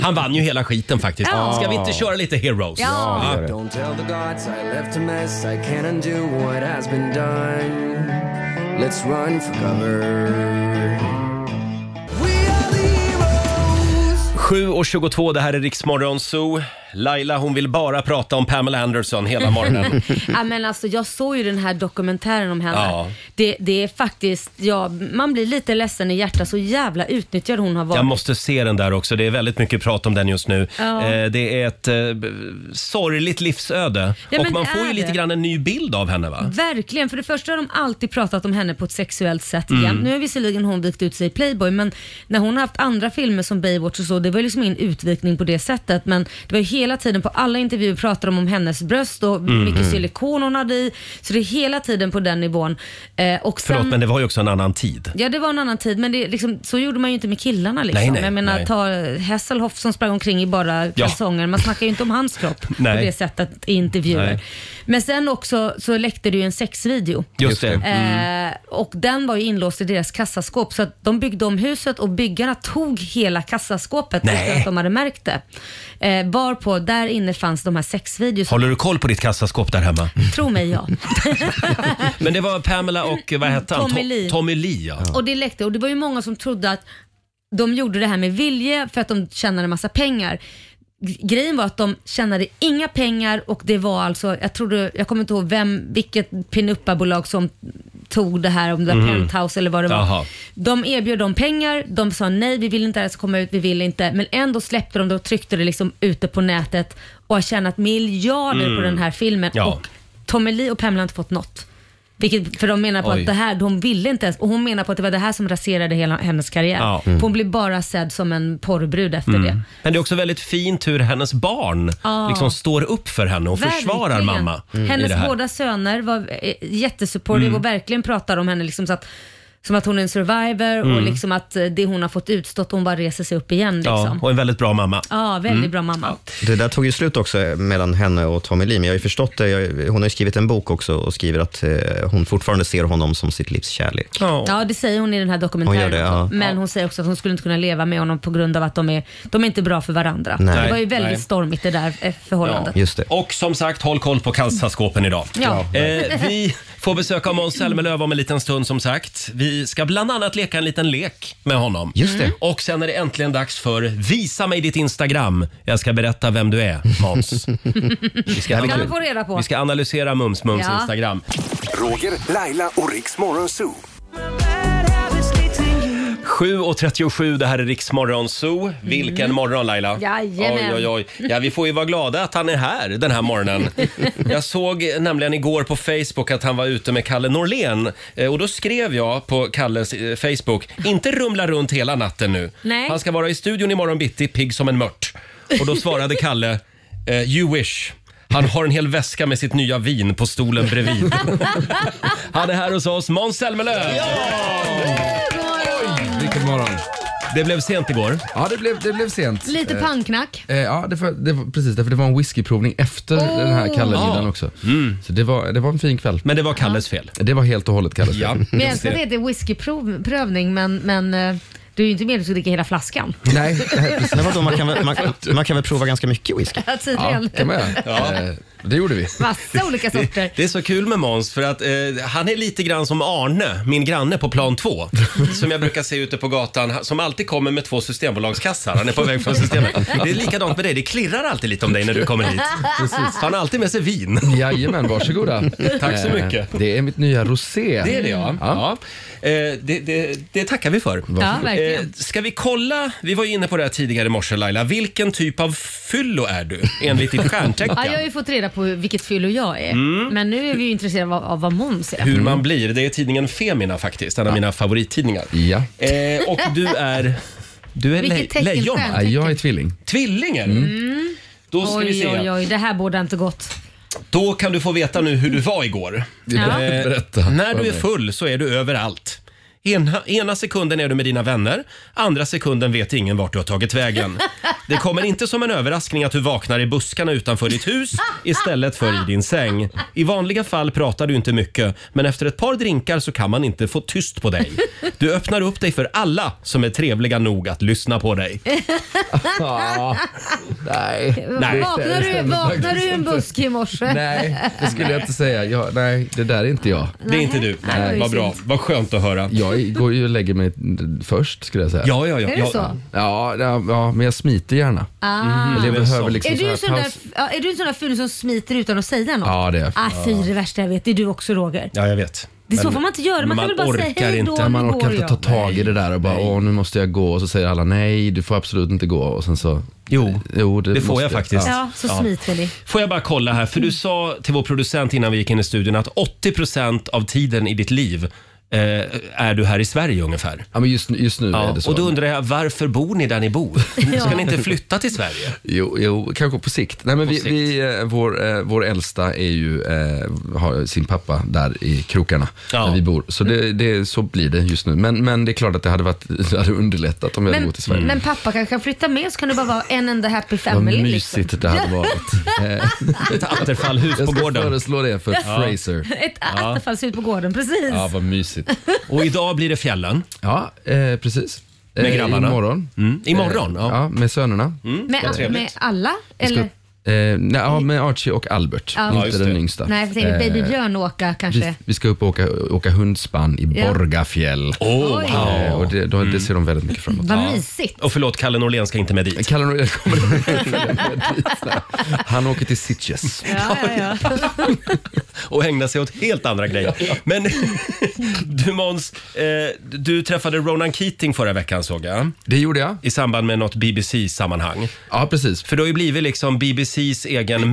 Han vann ju hela skiten faktiskt. Ja. Ska vi inte köra lite Heroes? Ja. Ja. Don't tell the gods I left a mess. I can't undo what has been done. Let's run for cover. 7.22, det här är Riksmorgon Zoo. Laila hon vill bara prata om Pamela Anderson hela morgonen. ja, men alltså, jag såg ju den här dokumentären om henne. Ja. Det, det är faktiskt, ja, man blir lite ledsen i hjärtat så jävla utnyttjad hon har varit. Jag måste se den där också. Det är väldigt mycket prat om den just nu. Ja. Eh, det är ett eh, b- sorgligt livsöde. Ja, och men man det får ju är lite det. grann en ny bild av henne va? Verkligen, för det första har de alltid pratat om henne på ett sexuellt sätt Mm. igen. Nu har visserligen hon vikt ut sig i Playboy, men när hon har haft andra filmer som Baywatch och så, det var ju liksom ingen utvikning på det sättet. Men det var ju hela tiden på alla intervjuer pratar de om hennes bröst och hur Mm. mycket silikon hon hade i. Så det är hela tiden på den nivån. Eh, och sen, Förlåt men det var ju också en annan tid. Ja, det var en annan tid, men det, är liksom, så gjorde man ju inte med killarna. Liksom. Nej, nej, jag menar, nej. ta Hasselhoff som sprang omkring i bara kalsonger. Man snackar ju inte om hans kropp Nej. på det sättet i intervjuer. Nej. Men sen också så läckte det ju en sexvideo. Just det. Mm. Eh, och den var ju inlåst i deras kassaskåp, så att de byggde om huset och byggarna tog hela kassaskåpet efter Nej. att de hade märkt det. Eh, varpå, där inne fanns de här sexvideorna. Håller du koll på ditt kassaskåp där hemma? Tro mig, ja. Men det var Pamela och eh, vad hette han? Mm, Tommy To- Lee. Tommy Lee ja. Och det läckte och det var ju många som trodde att de gjorde det här med vilje för att de tjänade en massa pengar. G- Grejen var att de tjänade inga pengar och det var alltså, jag trodde, jag kommer inte ihåg vem, vilket pinuppabolag som tog det här, om det var Mhm. Penthouse eller vad det var. Jaha. De erbjöd dem pengar, de sa nej, vi vill inte ens komma ut, vi vill inte. Men ändå släppte de det och tryckte det liksom ute på nätet och har tjänat miljarder Mm. på den här filmen. Ja. Och Tommy Lee och Pamela har inte fått något. Vilket, för de menar på Oj. att det här, hon ville inte ens, och hon menar på att det var det här som raserade hela hennes karriär. Ja. Mm. Hon blev bara sedd som en porrbrud efter det. Mm. Men det är också väldigt fint hur hennes barn Ja. liksom står upp för henne och försvarar Verkligen. mamma. i det Hennes här. båda söner var eh, jättesupportive Mm. och verkligen pratar om henne liksom så att, som att hon är en survivor och Mm. liksom att eh, det hon har fått utstått, hon bara reser sig upp igen. Ja, Liksom. och en väldigt bra mamma. Ja, väldigt Mm. bra mamma. Det där tog ju slut också eh, mellan henne och Tommy Lee, men jag har ju förstått det. Jag, hon har ju skrivit en bok också och skriver att eh, hon fortfarande ser honom som sitt livs kärlek. Ja, det säger hon i den här dokumentären. Hon gör det, ja. också. Men hon säger också att hon skulle inte kunna leva med honom på grund av att de är, de är inte bra för varandra. Nej. Det var ju väldigt Nej. stormigt det där eh, förhållandet. Och som sagt, håll koll på kassaskåpen idag. Ja. Ja. Eh, vi får besöka Måns Zelmerlöw om en liten stund som sagt. Vi ska bland annat leka en liten lek med honom. Just det. Och sen är det äntligen dags för Visa mig ditt Instagram. Jag ska berätta vem du är, Måns. Vi Det ska, här blir Kan kul. vi få reda på? vi ska analysera Mums Mums Ja. Instagram. Roger, Laila och Riks Morgonzoo. 7.37, det här är Riksmorgon Zoo. Vilken morgon Laila! Mm. Jajamän. Oj, oj, oj. Ja, vi får ju vara glada att han är här den här morgonen. Jag såg nämligen igår på Facebook att han var ute med Kalle Norlén Eh, och då skrev jag på Kalles eh, Facebook, inte rumla runt hela natten nu. Nej. Han ska vara i studion imorgon bitti, pigg som en mört. Och då svarade Kalle, eh, you wish. Han har en hel väska med sitt nya vin på stolen bredvid. Han är här hos oss, Måns Zelmerlöw! Vilken morgon. Det blev sent igår. Ja, det blev, det blev sent. Lite Eh, pangknack. Eh, ja, det var, det var, precis. Därför det var en whiskyprovning efter Oh. den här Kalle-middagen Ja. Mm. också. Så det var, det var en fin kväll. Men det var Kalles fel? Det var helt och hållet Kalles fel. Men jag älskar att det heter whiskyprövning, men, men eh, du är ju inte med att du dricka hela flaskan. Nej, precis. Men vadå, man, kan väl, man, man kan väl prova ganska mycket whisky? Ja, tydligen. kan man göra. Eh, Det gjorde vi. Massa olika sorter. Det, det är så kul med Måns för att eh, han är lite grann som Arne, min granne på plan 2. Som jag brukar se ute på gatan, ha- som alltid kommer med två systembolagskassar. Han är på väg från systemet. Det är likadant med dig, det klirrar alltid lite om dig när du kommer hit. Precis. Han har alltid med sig vin. Jajamän, varsågoda. Tack så Eh, mycket. Det är mitt nya rosé. Det är det ja. ja. Eh, det, det, det tackar vi för. Ja, verkligen. Eh, ska vi kolla, vi var ju inne på det här tidigare i morse Laila, vilken typ av fyllo är du enligt ditt stjärntecken? Ja, jag har ju fått reda på vilket fyllo jag är, Mm. men nu är vi ju intresserade av, av vad Måns är. Hur man blir, det är tidningen Femina faktiskt, en av mina favorittidningar. Ja. Eh, och du är... Du är Vilket le- tecken, lejon va? stjärntecken? Ja, jag är tvilling. Tvillingen? Mm. Då ska oj, vi se. oj, oj, det här bådar inte gott. Då kan du få veta nu hur du var igår. Ja. Eh, Berätta. När du För mig. är full så är du överallt. Ena, ena sekunden är du med dina vänner, andra sekunden vet ingen vart du har tagit vägen. Det kommer inte som en överraskning att du vaknar i buskarna utanför ditt hus istället för i din säng. I vanliga fall pratar du inte mycket, men efter ett par drinkar så kan man inte få tyst på dig. Du öppnar upp dig för alla som är trevliga nog att lyssna på dig. Nej. Nej. Vaknar du, vaknar du i en buske i morse? Nej, det skulle jag inte säga. Jag, nej, det där är inte jag. Det är inte du. Nej, Nej, vad bra. Vad skönt att höra. Jag går ju och lägger mig först skulle jag säga. Ja, ja, ja. Är det så? Ja, ja, ja, men jag smiter gärna. Ah. Eller jag behöver liksom är, så du här en sån där, paus. ja, är du en sån där ful som smiter utan att säga något? Ja, det är jag. Ah, fy, det värsta jag vet. Det är du också Roger. Ja, jag vet. Det är så Men får man inte göra. Man, kan väl bara säga hej då, nu Man orkar går inte jag." ta tag i det där och bara, åh nu måste jag gå. Och så säger alla, nej du får absolut inte gå. Och sen så, jo, det, det får måste jag faktiskt. Ja, så Ja. smiter ni. Får jag bara kolla här, för du sa till vår producent innan vi gick in i studion att 80% av tiden i ditt liv eh, är du här i Sverige ungefär. Ja, men just, just nu är det så. Och då undrar jag, varför bor ni där ni bor? Ska ni inte flytta till Sverige? Jo, jo kanske på sikt. Nej, men På vi, sikt. Vi, eh, vår, eh, vår äldsta är ju, eh, har sin pappa där i krokarna, där vi bor. Så, det, det, så blir det just nu. Men, men det är klart att det hade, varit, det hade underlättat om jag hade Men, bott i Sverige. men pappa kanske kan flytta med så kan du bara vara en enda happy Vad family. liksom. mysigt det hade varit. Ett Atterfallhus jag på Jag gården. ska föreslå det för Ja. Fraser. Ett Ja. attefallshus på gården, precis. vad mysigt. Och idag blir det fjällen. Ja, eh, precis. Med grabbarna. Imorgon. Mm. Imorgon, ja. ja. Med sönerna. Med, med alla? Eller? Eh, nej, ja, med Archie och Albert. Ja. Ja, Inte just den det. yngsta. Nej, för tänker Eh, Baby Björn åka kanske. Vi, vi ska upp och åka, åka hundspann i Ja. Borgafjäll. Oh, Oj. Eh, och det, då, Mm. det ser de väldigt mycket fram emot. Vad mysigt. Och förlåt, Kalle Norlén ska inte med dit. Kalle Norén kommer att följa med dit, så här. Han åker till Sitges. Ja, ja, ja. och ägna sig åt helt andra grejer. Men du Måns, eh, du träffade Ronan Keating förra veckan såg jag. Det gjorde jag. I samband med något BBC-sammanhang. Ja, precis. För du har ju blivit liksom BBCs egen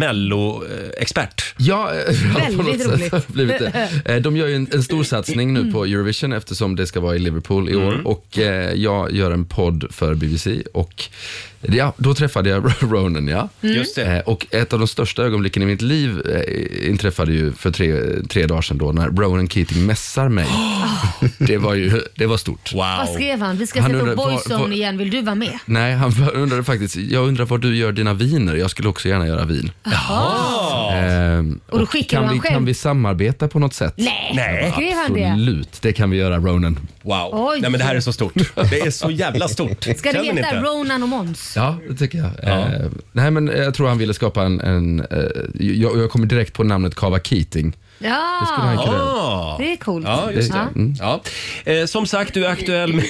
Mello-expert. Ja, eh, Väldigt på något sätt roligt. har det blivit det. Eh, De gör ju en, en stor satsning nu på Eurovision eftersom det ska vara i Liverpool i Mm. år och eh, jag gör en podd för BBC och ja, då träffade jag Ronan ja. Mm. Just det. Eh, Och ett av de största ögonblicken i mitt liv eh, inträffade ju för tre, tre dagar sedan då när Ronan Keating mässar mig. Det var ju, det var stort. Vad skrev han? Vi ska Han sätta undrar, upp var- Boyzone var- igen, vill du vara med? Nej, han undrade faktiskt, jag undrar var du gör dina viner, jag skulle också gärna göra vin. Ehm, Och då skickar kan, du han vi, själv? kan vi samarbeta på något sätt? Nej. Nej. Skrev han det? Absolut, det kan vi göra Ronan. Wow. Oj. Nej men det här är så stort. Det är så jävla stort. Ska det Känner ni heta inte? Ronan och Måns? Ja, det tycker jag. Eh, nej, men jag tror han ville skapa en... en eh, jag, jag kommer direkt på namnet Kava Keating. Ja, det, skulle han kunna göra. är coolt. Ah. Ja, just det. Mm. Ja. Eh, som sagt, du är aktuell med,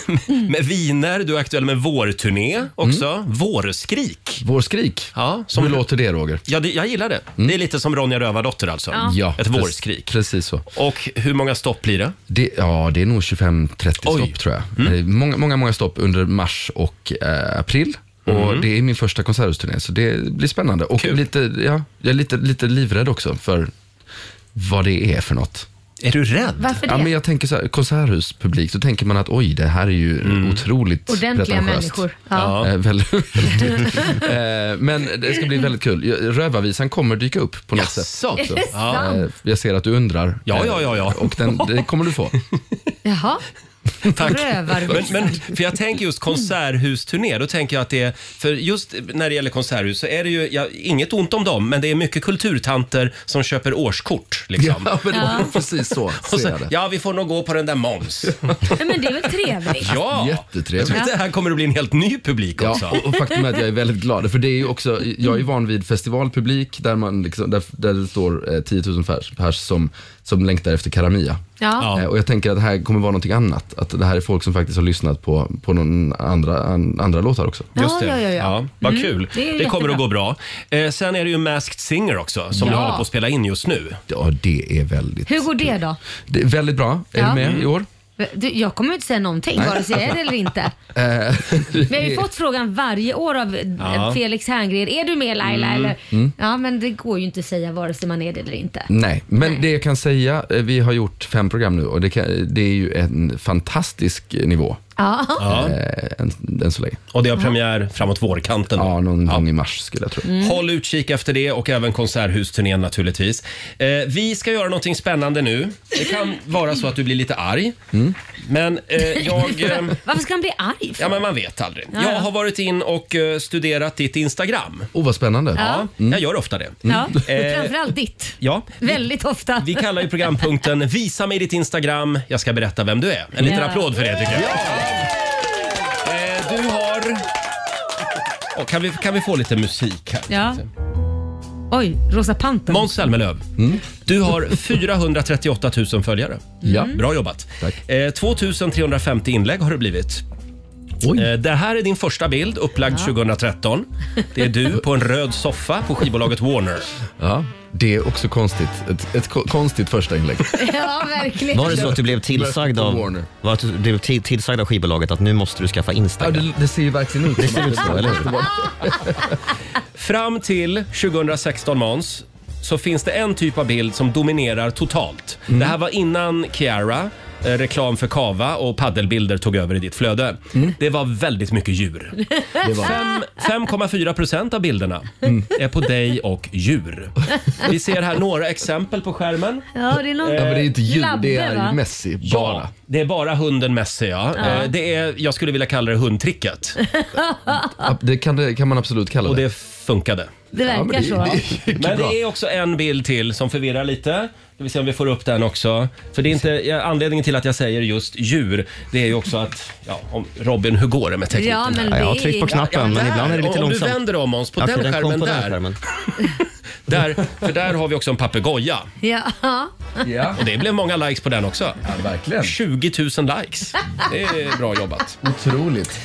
med viner, du är aktuell med vårturné också. Mm. Vårskrik. Vårskrik. Ja, Som Hur låter det Roger? ja, det, jag gillar det. Det är lite som Ronja Rövardotter alltså. Ja. Ett pre- vårskrik. Mm. Precis så. Och hur många stopp blir det? Det, ja, det är nog 25-30 Oj. Mm. stopp tror jag. Eh, Många, många, många stopp under mars och eh, april. Och Mm. Det är min första konserthusturné, så det blir spännande. Och lite, ja, jag är lite, lite livrädd också för vad det är för något. Är du rädd? Varför det? Ja, men jag tänker så här, konserthuspublik, då tänker man att oj, det här är ju Mm. otroligt Ordentliga pretentiöst. människor. Ja. Eh, väldigt, väldigt. Eh, men det ska bli väldigt kul. Rövarvisan kommer dyka upp på något sätt. Jaså? också. Är det sant? Eh, Jag ser att du undrar. Ja, ja, ja, ja. Eh, Och den, det kommer du få. Jaha. Tack. Men, Rövarvis. men, för jag tänker just konserthusturné, då tänker jag att det är, för just när det gäller konserthus så är det ju, ja, inget ont om dem, men det är mycket kulturtanter som köper årskort. Liksom. Ja, men, Precis så Och ser så, jag det. ja, vi får nog gå på den där Måns. Men, det är väl trevligt? Ja! Jag tror Jättetrevligt. att det här kommer att bli en helt ny publik Ja, också. och, och faktum är att jag är väldigt glad, för det är ju också, jag är van vid festivalpublik där, man liksom, där, där det står eh, 10 000 pers, pers som, som längtar efter Karamia. Ja. Eh, Och jag tänker att det här kommer vara någonting annat. Att det här är folk som faktiskt har lyssnat på, på någon andra, an, andra låtar också. Just det. Ja, ja, ja, ja. vad Mm, kul. det är Det, ju kommer jättebra. att gå bra. Eh, sen är det ju Masked Singer också, som Ja. du håller på att spela in just nu. Ja, det är väldigt, Hur går det då? det är väldigt bra. Är Ja. du med i år? Du, jag kommer inte säga någonting, vare sig jag är det eller inte. Eh, Vi har ju fått frågan varje år av eh, Ja. Felix Herngren. Är du med Laila? Mm. Eller? Ja, men det går ju inte att säga vare sig man är det eller inte. Nej, men det jag kan säga, eh, vi har gjort fem program nu och det, kan, det är ju en fantastisk nivå. Ja. Ja. Eh, än, än så länge. Och det har premiär framåt vårkanten? Ja, någon gång i mars skulle jag tro. Mm. Håll utkik efter det och även Konserthusturnén naturligtvis. Eh, vi ska göra någonting spännande nu. Det kan vara så att du blir lite arg. Mm. Men eh, jag... eh, Varför ska han bli arg för? Ja, men man vet aldrig. Ja, ja. Jag har varit in och eh, studerat ditt Instagram. Oh, vad spännande. Ja. Jag gör ofta det. Ja, Mm. Eh, framförallt ditt. ja. Väldigt ofta. Vi kallar ju programpunkten “Visa mig ditt Instagram, jag ska berätta vem du är”. En liten Ja. applåd för det tycker jag. Eh, Du har... Åh, kan, vi, kan vi få lite musik här? Ja. Oj, Rosa Pantern. Måns Zelmerlöw, du har 438 000 följare. Mm. Ja. Bra jobbat. Eh, 2350 inlägg har det blivit. Eh, Det här är din första bild, upplagd 2013. Det är du på en röd soffa på skivbolaget Warner. Ja, det är också konstigt. Ett, ett ko- konstigt första inlägg. Ja, verkligen. Var det så att du blev tillsagd av, Warner. var att du blev ti- tillsagd av skivbolaget att nu måste du skaffa Instagram? det, det ser ju verkligen ut Det ser ut så, eller hur? Fram till 2016, Måns, så finns det en typ av bild som dominerar totalt. Det här var innan Ciara, eh, reklam för kava och paddelbilder tog över i ditt flöde. Det var väldigt mycket djur. Fem- 5,4 procent av bilderna är på dig och djur. Vi ser här några exempel på skärmen. Ja, det är någon Ja, men det är inte djur, det labbe, är va? ju Messi bara. Ja, det är bara hunden Messi. Ja. Ja. Eh, Det är, jag skulle vilja kalla det hundtricket. Ja, Det kan, det kan man absolut kalla Och det. det funkade. Det verkar Ja, men det- så. det- Men det är också en bild till som förvirrar lite. Ska vi se om vi får upp den också. För det är inte, ja, anledningen till att jag säger just djur, det är ju också att, ja, om Robin, hur går det med tekniken? Ja, men här? det Ja, jag har är... tryckt på knappen men där. ibland är det lite om långsamt. du vänder om Måns, på Okej, den den skärmen kom på den där, skärmen. där. För där har vi också en papegoja. Ja. Ja. Och det blev många likes på den också. verkligen. 20 000 likes. Det är bra jobbat. Otroligt.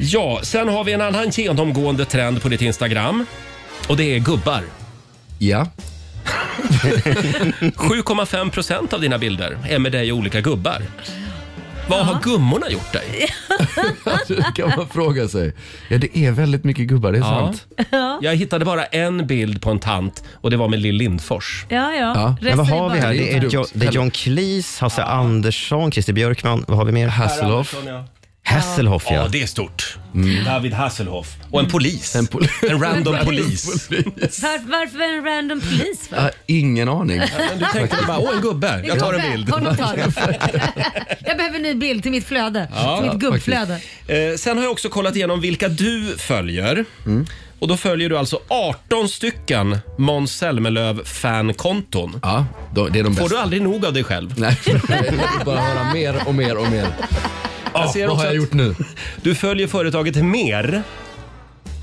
Ja, sen har vi en annan genomgående trend på ditt Instagram. Och det är gubbar. Ja. 7,5 procent av dina bilder är med dig och olika gubbar. Vad har gummorna gjort dig? Det kan man fråga sig. Ja, det är väldigt mycket gubbar, det är sant. Jag hittade bara en bild på en tant och det var med Lill Lindfors. Ja, ja. Ja, Men men vad Resten är har vi bara- här? Det är Det är, dumt. jo, det är John Cleese, Hasse Andersson, Christer Björkman. Vad har vi mer? Hasselhoff. Hasselhoff ja. Ja, det är stort. David Hasselhoff. Och en polis. En, pol- random polis. Var, varför en random polis? Ja, ingen aning. Men du tänkte väl bara, åh en gubbe, jag tar en Gubbe, bild. Honom tar vi. Jag behöver en ny bild till mitt flöde. till mitt gubbflöde. Eh, sen har jag också kollat igenom vilka du följer. Mm. Och då följer du alltså 18 stycken Måns Zelmerlöw fankonton. Ja, då- det är de bästa. Får du aldrig nog av dig själv? Nej, jag vill bara höra mer och mer och mer. Jag ser Vad också har jag att- gjort nu? Du följer företaget mer.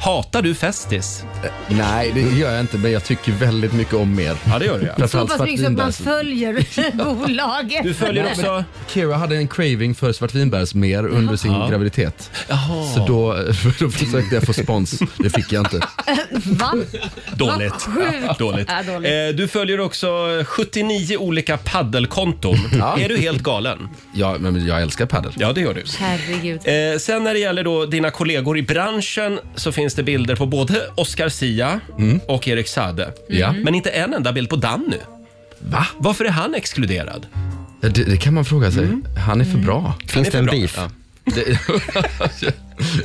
Hatar du Festis? Nej, det gör jag inte, men jag tycker väldigt mycket om mer. Ja, det gör du ja. Så Framförallt pass mycket så att man svartvinbärs. följer bolaget. Du följer också... Kira hade en craving för svartvinbärsmer under sin graviditet. Så då, då försökte jag få spons. Det fick jag inte. Va? Dåligt. Sjukt. Dåligt. Ja, dåligt. Eh, du följer också 79 olika paddelkonton. Är du helt galen? Ja, men jag älskar padel. Ja, det gör du. Herregud. Eh, sen när det gäller då dina kollegor i branschen så finns det bilder på både Oscar Sia och Erik Sade. Mm. Ja. Men inte en enda bild på Danny. Va? Varför är han exkluderad? Ja, Det, det kan man fråga sig. Mm. Han är för bra. Finns det en beef? Det,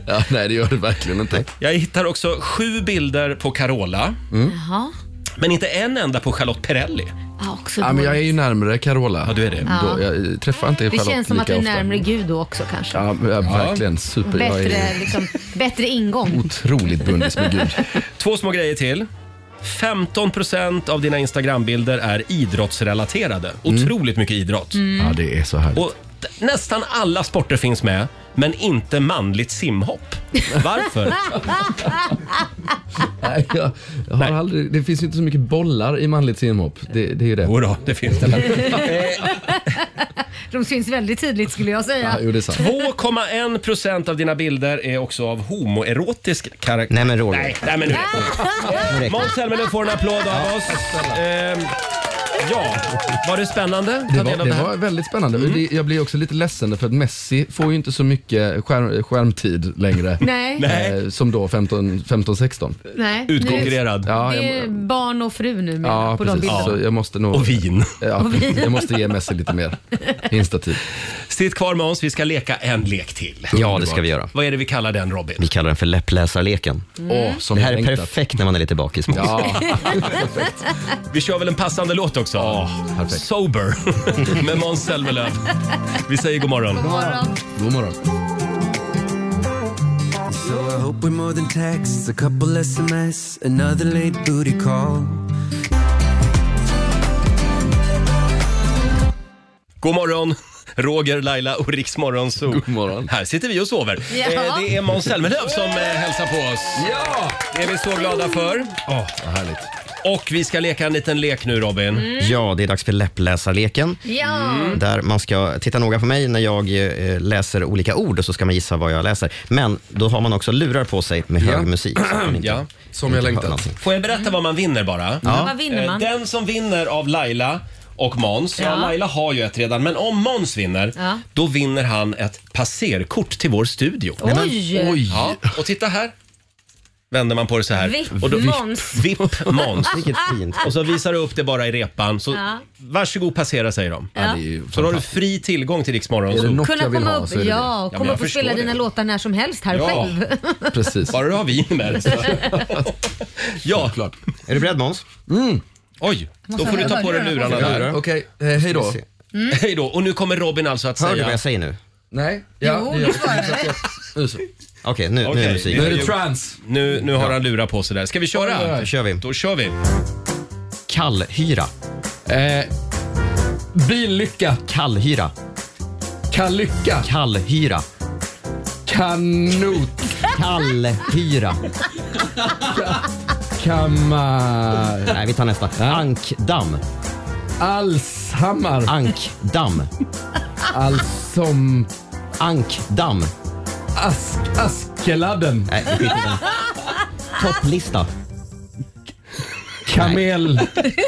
ja, nej, det gör det verkligen inte. Jag hittar också sju bilder på Carola, Jaha. men inte en enda på Charlotte Perrelli. Ja, också Ja, men jag är ju närmare Carola. Ja, du är det. Då, jag eh, träffar inte Det Charlotte känns som att du lika är ofta. närmare Gud då också kanske. Ja, men, ja, verkligen. Super. Jag Bättre, är liksom, bättre ingång. otroligt bundis med Gud. Två små grejer till. 15 av dina Instagrambilder är idrottsrelaterade. Otroligt mycket idrott. Mm. Ja, det är så härligt. Och d- nästan alla sporter finns med, men inte manligt simhopp. Varför? Nej, jag, jag har aldrig, det finns ju inte så mycket bollar i manligt simhopp. Det, det är ju det. Jodå, det finns det. väl. De syns väldigt tydligt skulle jag säga. Ja, jo, det är sant. 2,1 procent av dina bilder är också av homoerotisk karaktär. Nej men Roger. Nej, nej men nu räcker det. Måns Zelmerlöw får en applåd av oss. Ehm, ja, var det spännande? Ta Det del var, av det här. Mm. var väldigt spännande. Det, jag blir också lite ledsen för att Messi får ju inte så mycket skärm, skärmtid längre. Nej. Nej. Eh, som då 15-16. Nej. Utkonkurrerad. Ja, Nu, det jag, är barn och fru nu med ja på de precis. bilderna. Så jag måste nog... Och vin. Ja, jag måste ge Messi lite mer instatid. Sitt kvar med oss, vi ska leka en lek till. Ja, det ska vi göra. Vad är det vi kallar den Robin? Vi kallar den för läppläsarleken. Mm. Åh, som det jag här är längtat. perfekt när man är lite bakis. Ja. Vi kör väl en passande låt också? Sober med Måns Zelmerlöw. Vi säger god morgon. God morgon. God morgon. So I hope we're more than texts, a couple SMS, another late booty call. God morgon. Roger, Laila och Riks Morgonzoo. God morgon. Här sitter vi och sover. Ja. Eh, Det är Måns Zelmerlöw som eh, hälsar på oss. Ja! Det är vi så glada för. Åh, vad härligt. Och vi ska leka en liten lek nu Robin. Mm. Ja, det är dags för läppläsarleken. Ja. Mm. Där man ska titta noga på mig när jag eh, läser olika ord och så ska man gissa vad jag läser. Men då har man också lurar på sig med hög musik. så att man inte- Ja. Som jag inte hör längtat. någonting. Får jag berätta vad man vinner bara? Ja, vad vinner Eh, man? Den som vinner av Laila och Måns, ja. Ja. Laila har ju ett redan, men om Måns vinner, Ja. då vinner han ett passerkort till vår studio. Oj! Oj. Ja, och titta här. Vänder man på det så här. Vipp och Måns. Vipp Måns. Vilket fint. Och så visar du upp det bara i repan. Så Ja. Varsågod passera säger de. Ja, det är Så då har du fri tillgång till Rix Morgon. Är det Zoo. något Kunna komma upp, ja, men komma jag upp och förstår spela det. dina låtar när som helst här Ja. själv. Precis. Bara du har vin med dig. så- ja. Klart. Är du beredd Måns? Mm. Oj, då Måste får du jag ta på dig börja? lurarna Ska jag där. göra? Okej, eh, hej då. Hej då. Och nu kommer Robin alltså att Hör säga... du vad jag säger nu? Nej. Ja, det gör jag. Nu så. Okej, nu, nu är det musik. Nu är det trance. Nu, nu har han lurar på sig där. Ska vi köra? Då kör vi. Då kör vi. Kallhyra. Eh, billycka. Kallhyra. Kallycka. Kallhyra. Kanot. Kallhyra. Kammar. Nej, vi tar nästa. Ankdamm. Alshammar. Ankdamm. Allsom. Ankdamm. Ask, askeladden. Nej, skit i den. Topplista. Kamel.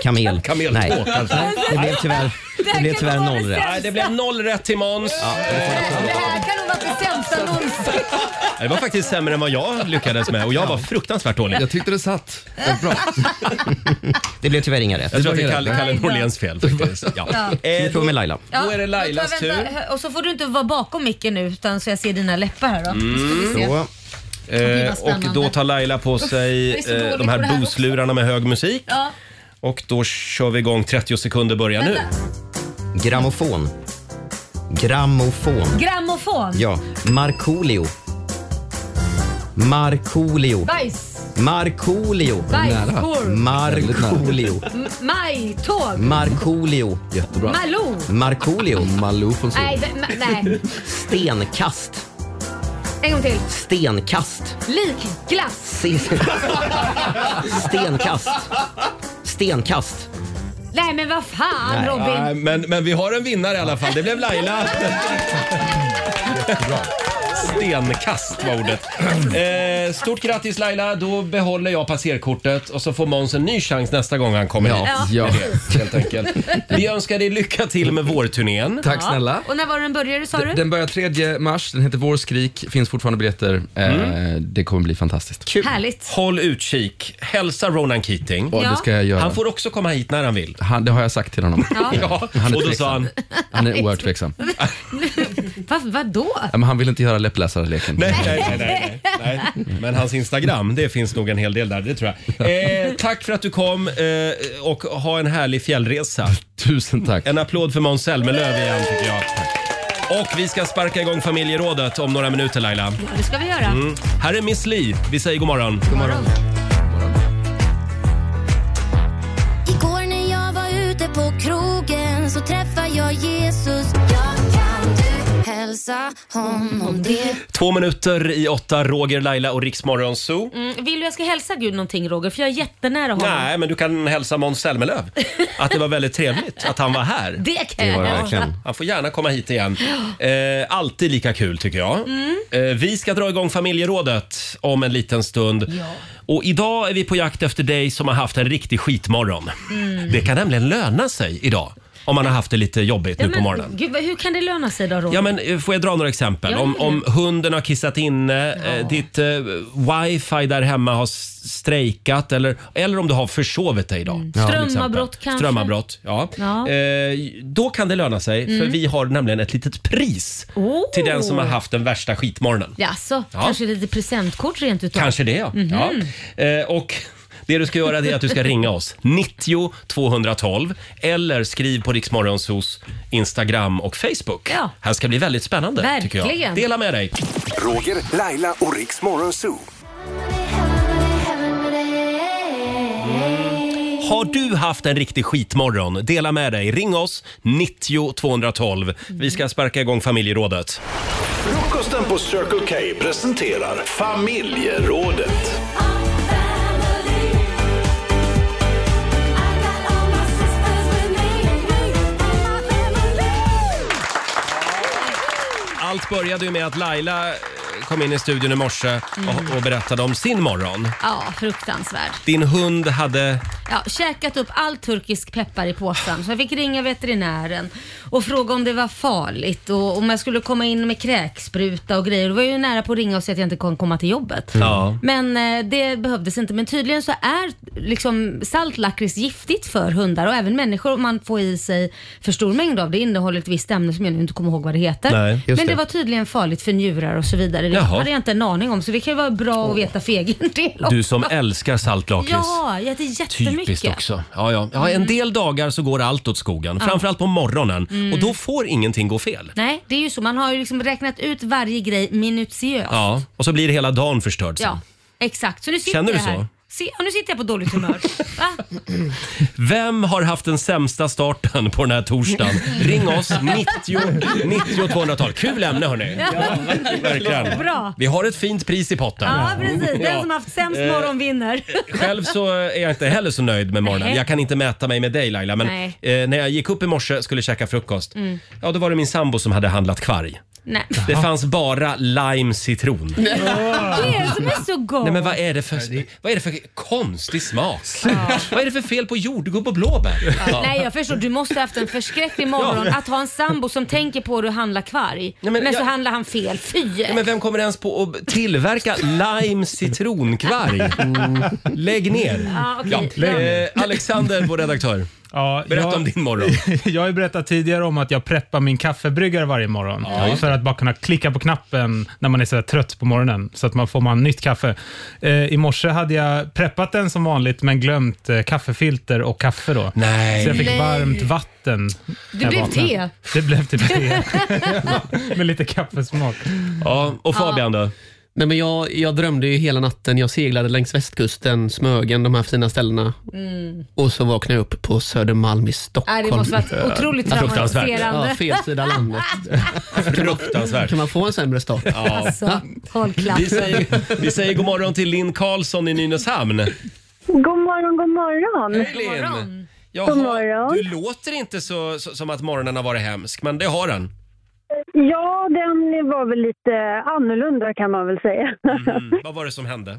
Kamel. Kamel Nej. två, kanske. Nej, Det blev tyvärr, det blev tyvärr noll rätt. Nej, det blev noll rätt till Måns. Det här kan nog vara det sämsta någonsin. Det var faktiskt sämre än vad jag lyckades med och jag var fruktansvärt dålig. Jag tyckte det satt. Bra. Det blev tyvärr inga rätt. Jag tror att det är Kalle, Kalle Norléns fel faktiskt. Ja. Ja. Ska Eh, vi prova med Laila? Ja, Då är det Lailas då tar jag- vänta, Och så får du inte vara bakom micken nu utan så jag ser dina läppar här då. Mm. Ska vi se. Så. Gud, Eh, vad och spännande. då tar Laila på sig jag är så eh, dålig de på det här här boslurarna med hög musik. Ja. Och då kör vi igång 30 sekunder börjar nu. Grammofon. Grammofon. Grammofon. Ja. Markoolio. Markoolio. Bajs. Markoolio. Bajskorv. Mm. Markoolio. M- Majtåg. Markoolio. Jättebra. Malou. Markoolio. Malou från Nej, vem- ma- nej. Stenkast. En gång till. Stenkast. Likglass. Stenkast. Stenkast. Nej men vad fan Nej. Robin. Nej, men, men vi har en vinnare i alla fall. Det blev Laila. Stenkast var ordet. Eh, stort grattis Laila, då behåller jag passerkortet och så får Måns en ny chans nästa gång han kommer Ja, hit. ja. Med Det, helt enkelt. Vi önskar dig lycka till med vårturnén. Tack snälla. Ja. Och när var den började sa du? Den börjar 3 mars, den heter Vårskrik, finns fortfarande biljetter. Eh, det kommer bli fantastiskt. Mm. Kul. Härligt. Håll utkik. Hälsa Ronan Keating. Ja, det ska jag göra. Han får också komma hit när han vill. Han, det har jag sagt till honom. Ja. Ja, Han är och då tveksam. sa han... Han är oerhört tveksam. Va, vadå? Ja, men han vill inte göra läppläsarleken. Nej, nej, nej, nej, nej, nej. Men hans Instagram, det finns nog en hel del där, det tror jag. Eh, tack för att du kom eh, och ha en härlig fjällresa. Tusen tack. En applåd för Måns Zelmerlöw igen tycker jag. Och vi ska sparka igång familjerådet om några minuter Laila. Ja, det ska vi göra. Mm. Här är Miss Li. Vi säger god morgon. God morgon. Igår när jag var ute på krogen så träffade jag Jesus. Jag kan du hälsa honom det? Två minuter i åtta, Roger, Laila och Riksmorgon Zoo. Mm, vill du jag ska hälsa Gud någonting Roger? För jag är jättenära honom. Nej, men du kan hälsa Måns Zelmerlöw att det var väldigt trevligt att han var här. Det kan Det var jag det göra. verkligen. Han får gärna komma hit igen. Eh, alltid lika kul tycker jag. Mm. Eh, vi ska dra igång familjerådet om en liten stund. Och idag är vi på jakt efter dig som har haft en riktig skitmorgon. Mm. Det kan nämligen löna sig idag om man har haft det lite jobbigt Ja, nu på men morgonen. Gud, vad- hur kan det löna sig då Roger? Ja, men eh, får jag dra några exempel? Ja, Om, gör det. om hunden har kissat inne, eh, ditt eh, wifi där hemma har s- strejkat eller, eller om du har försovit dig idag. till exempel. Mm. Strömavbrott kanske? Strömavbrott, ja. Ja. Eh, då kan det löna sig, för Mm. vi har nämligen ett litet pris Oh. till den som har haft den värsta skitmorgonen. Jaså, Ja. alltså, kanske lite presentkort rent utav? Kanske det, ja. Mhm. ja. Eh, och det du ska göra det är att du ska ringa oss. 90 212 eller skriv på Riksmorgonsos Instagram och Facebook. Ja. Här ska bli väldigt spännande tycker Verkligen. jag. Dela med dig. Roger, Laila och Riks Morgonzoo. Har du haft en riktig skitmorgon? Dela med dig. Ring oss, 90 212. Vi ska sparka igång familjerådet. Frukosten på Circle K presenterar familjerådet. Allt började ju med att Laila eh, kom in i studion i morse och, och berättade om sin morgon. Ja, fruktansvärd. Din hund hade... Ja, käkat upp all turkisk peppar i påsen så jag fick ringa veterinären och fråga om det var farligt och om jag skulle komma in med kräkspruta och grejer. Det var ju nära på att ringa och säga att jag inte kan komma till jobbet. Ja. Men eh, det behövdes inte. Men tydligen så är liksom saltlakrits giftigt för hundar och även människor om man får i sig för stor mängd av det. innehåller ett visst ämne som jag nu inte kommer ihåg vad det heter. Nej, just Men det. det. var tydligen farligt för njurar och så vidare. Det Jaha. hade jag inte en aning om så det kan ju vara bra att veta för egen del Du också. som älskar saltlakrits. Ja, jag äter jättemycket. Typiskt också. Ja, ja. Ja, en Mm. del dagar så går allt åt skogen, Ja. framförallt på morgonen. Mm. Och då får ingenting gå fel. Nej, det är ju så. Man har ju liksom räknat ut varje grej minutiöst. Ja, och så blir hela dagen förstörd sen. Ja, exakt. Så nu sitter Känner du jag här. så? Se, ja, nu sitter jag på dåligt humör. Va? Vem har haft den sämsta starten på den här torsdagen? Ring oss, 90, 90 212. Kul ämne hörni. Ja. Verkligen. Bra. Vi har ett fint pris i potten. Ja, precis. Den som Ja. haft sämst Eh, morgon vinner. Själv så är jag inte heller så nöjd med morgonen. Nej. Jag kan inte mäta mig med dig Laila, men Nej. eh, när jag gick upp i morse skulle käka frukost, Mm. ja då var det min sambo som hade handlat kvarg. Nej. Det fanns bara lime citron. Det är det som är så gott. Nej men vad är det för, vad är det för konstig smak? Vad är det för fel på jordgubb och blåbär? Ja. Nej jag förstår, du måste haft en förskräcklig morgon Ja. att ha en sambo som tänker på hur du handlar kvarg. Nej, men men så jag- handlar han fel. Fy! Ja, men vem kommer ens på att tillverka lime citronkvarg? Lägg ner. Ja, okej. eh, Alexander, vår redaktör. Ja, Berätta jag- om din morgon. jag har ju berättat tidigare om att jag preppar min kaffebryggare varje morgon Ja. för att bara kunna klicka på knappen när man är så där trött på morgonen så att man får man nytt kaffe. Eh, I morse hade jag preppat den som vanligt men glömt eh, kaffefilter och kaffe då. Nej. Så jag fick Nej. varmt vatten. Det när jag blev vaknade. te. Det blev typ te med lite kaffesmak. Ja, och Fabian då? Nej, men jag, jag drömde ju hela natten. Jag seglade längs västkusten, Smögen, de här fina ställena. Mm. Och så vaknade jag upp på Södermalm i Stockholm. Nej, det måste varit otroligt Fruktansvärt. traumatiserande. Ja, fel sida landet. Fruktansvärt. Kan man få en sämre start? Alltså, håll Vi klaffen. säger, vi säger god morgon till Linn Karlsson i Nynäshamn. God morgon, god morgon. Linn. Jaha, Du låter inte så, så, som att morgonen har varit hemsk, men det har den. Ja, den var väl lite annorlunda kan man väl säga. Mm. Vad var det som hände?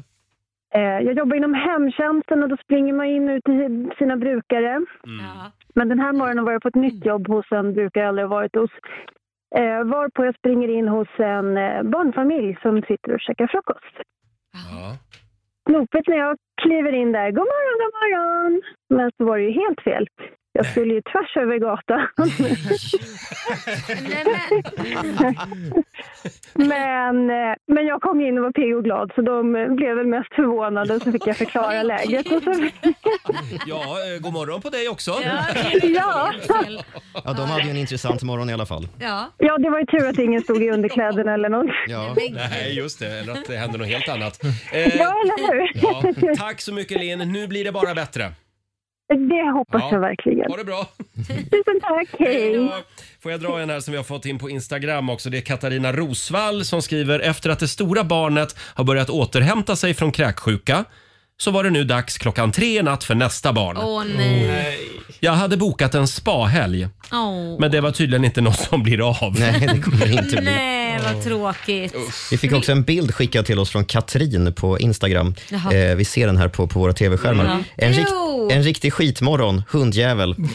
Eh, Jag jobbar inom hemtjänsten och då springer man in ut till sina brukare. Men den här morgonen var jag på ett nytt jobb hos en brukare jag aldrig har varit hos. Eh, varpå jag springer in hos en eh, barnfamilj som sitter och käkar frukost. Ja. Snopet när jag kliver in där, god morgon, god morgon. Men så var det ju helt fel. Jag skulle ju tvärs över gatan. men, eh, men jag kom in och var pigg och glad så de eh, blev väl mest förvånade och så fick jag förklara läget. Och så... Ja, eh, god morgon på dig också. ja. Ja, de hade ju en intressant morgon i alla fall. Ja. ja, det var ju tur att ingen stod i underkläderna eller något. Ja. Nej, just det. Eller att det hände något helt annat. Ja, Eh, eller hur? ja. Tack så mycket Linn. Nu blir det bara bättre. Det hoppas Ja. jag verkligen. Ha det bra. Tusen tack, hej! Får jag dra en här som vi har fått in på Instagram också. Det är Katarina Rosvall som skriver efter att det stora barnet har börjat återhämta sig från kräksjuka så var det nu dags klockan tre i natt för nästa barn. Åh nej. Jag hade bokat en spahelg, Åh. men det var tydligen inte något som blir av. Nej, det kommer inte bli. Nej, vad tråkigt. Vi fick också en bild skickad till oss från Katrin på Instagram. Jaha. Eh, vi ser den här på, på våra tv-skärmar. Ja. En, rikt, Jo. en riktig skitmorgon, hundjävel. typ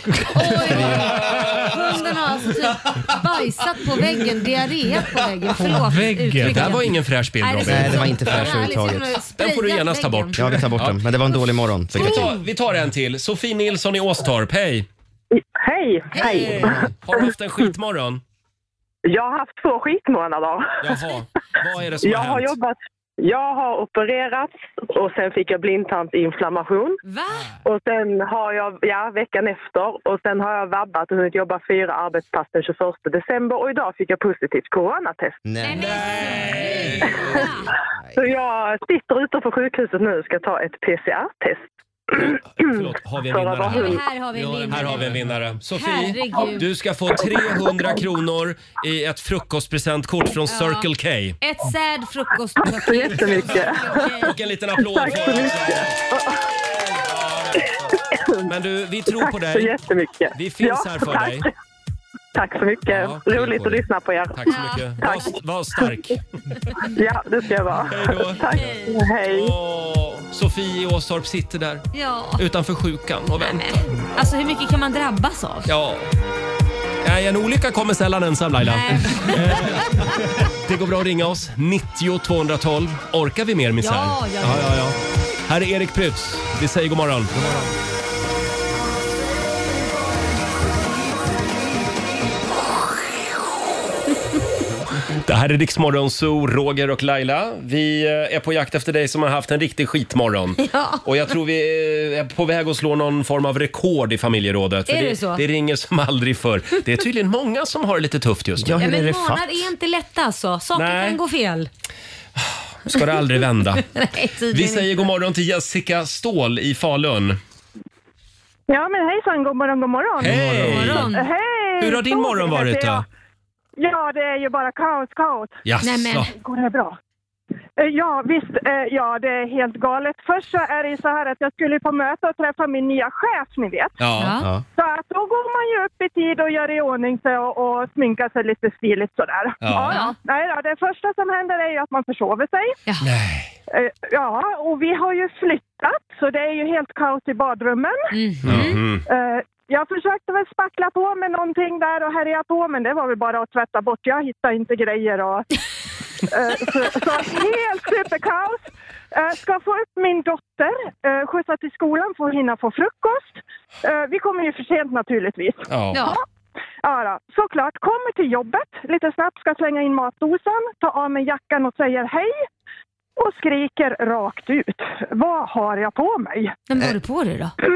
bajsat på väggen, diarréat på väggen. Förlåt uttrycket. Det här var ingen fräsch bild Nej, det Robin. ser Nej, det liksom var inte fräsch överhuvudtaget. Den får du genast ta bort. Ja, Oh! vi tar bort den. Men det var en dålig morgon. Ska vi, ta, vi tar en till. Sofie Nilsson i Åstorp, hej! Hej! Hej! Har du haft en skitmorgon? Jag har haft två skitmånader. Jaha, vad är det som Jag har har hänt? jobbat... Jag har opererats och sen fick jag blindtarmsinflammation. Va? Och sen har jag, ja, veckan efter. Och sen har jag vabbat och hunnit jobba fyra arbetspass den 21 december och idag fick jag positivt coronatest. Nej. Så jag sitter utanför sjukhuset nu och ska ta ett PCR-test. Förlåt, har vi en För att vinnare? vara hund. Ja, här har vi en vinnare. Här har vi en vinnare. Sofie, Herregud. du ska få 300 kronor i ett frukostpresentkort från Circle K. Ett sad frukost. Tack så jättemycket. Och en liten applåd Tack för oss. Men du, vi tror på dig. Tack så jättemycket. Vi finns Ja, här för tack. dig. Tack så mycket. Ja, Roligt på att dig. lyssna på er. Tack så mycket. Var, var stark. Ja, det ska jag vara. Hej då. Tack. Hej. Sofie i Åstorp sitter där Ja. utanför sjukan och väntar. Alltså hur mycket kan man drabbas av? Ja. Nej, en olycka kommer sällan ensam Laila. Nej. Eh, Det går bra att ringa oss. 90 212. Orkar vi mer misär? Ja, ja, ja. ja, ja. Här är Erik Prytz. Vi säger god morgon. God morgon. Det här är Rix Morgon Zoo, Roger och Laila. Vi eh, är på jakt efter dig som har haft en riktig skitmorgon. Ja. Och jag tror vi eh, är på väg att slå någon form av rekord i familjerådet. Är det, det så? det ringer som aldrig förr. Det är tydligen många som har det lite tufft just nu. Ja, men månader är inte lätta alltså. Saker Nej. kan gå fel. Ska det aldrig vända? Nej, Vi tydligen säger god morgon till Jessica Ståhl i Falun. Ja, men hejsan, god morgon, god morgon. Hej! God morgon. Eh, Hej! Hur har din Så morgon trevligt varit att då? jag- Ja, det är ju bara kaos, kaos. Jaså. Nej, men. Går det bra? Eh, Ja, visst. eh, Ja, det är helt galet. Först så är det ju så här att jag skulle på möte och träffa min nya chef, ni vet. Ja. Ja. Så att då går man ju upp i tid och gör i ordning sig och, och sminkar sig lite stiligt sådär. Ja. Nej då, det första som händer är ju att man försover sig. Eh, Ja, och vi har ju flyttat så det är ju helt kaos i badrummen. Mm. Mhm. Eh, Jag försökte väl spackla på med någonting där och härja på men det var väl bara att tvätta bort. Jag hittade inte grejer och... eh, så, så helt superkaos. Eh, Ska få upp min dotter, eh, skjutsa till skolan för att hinna få frukost. Eh, Vi kommer ju för sent naturligtvis. Ja. Ja. Ja, då. såklart. Kommer till jobbet, lite snabbt ska slänga in matdosan, ta av mig jackan och säger hej. Och skriker rakt ut. Vad har jag på mig? Men vad har du på dig då?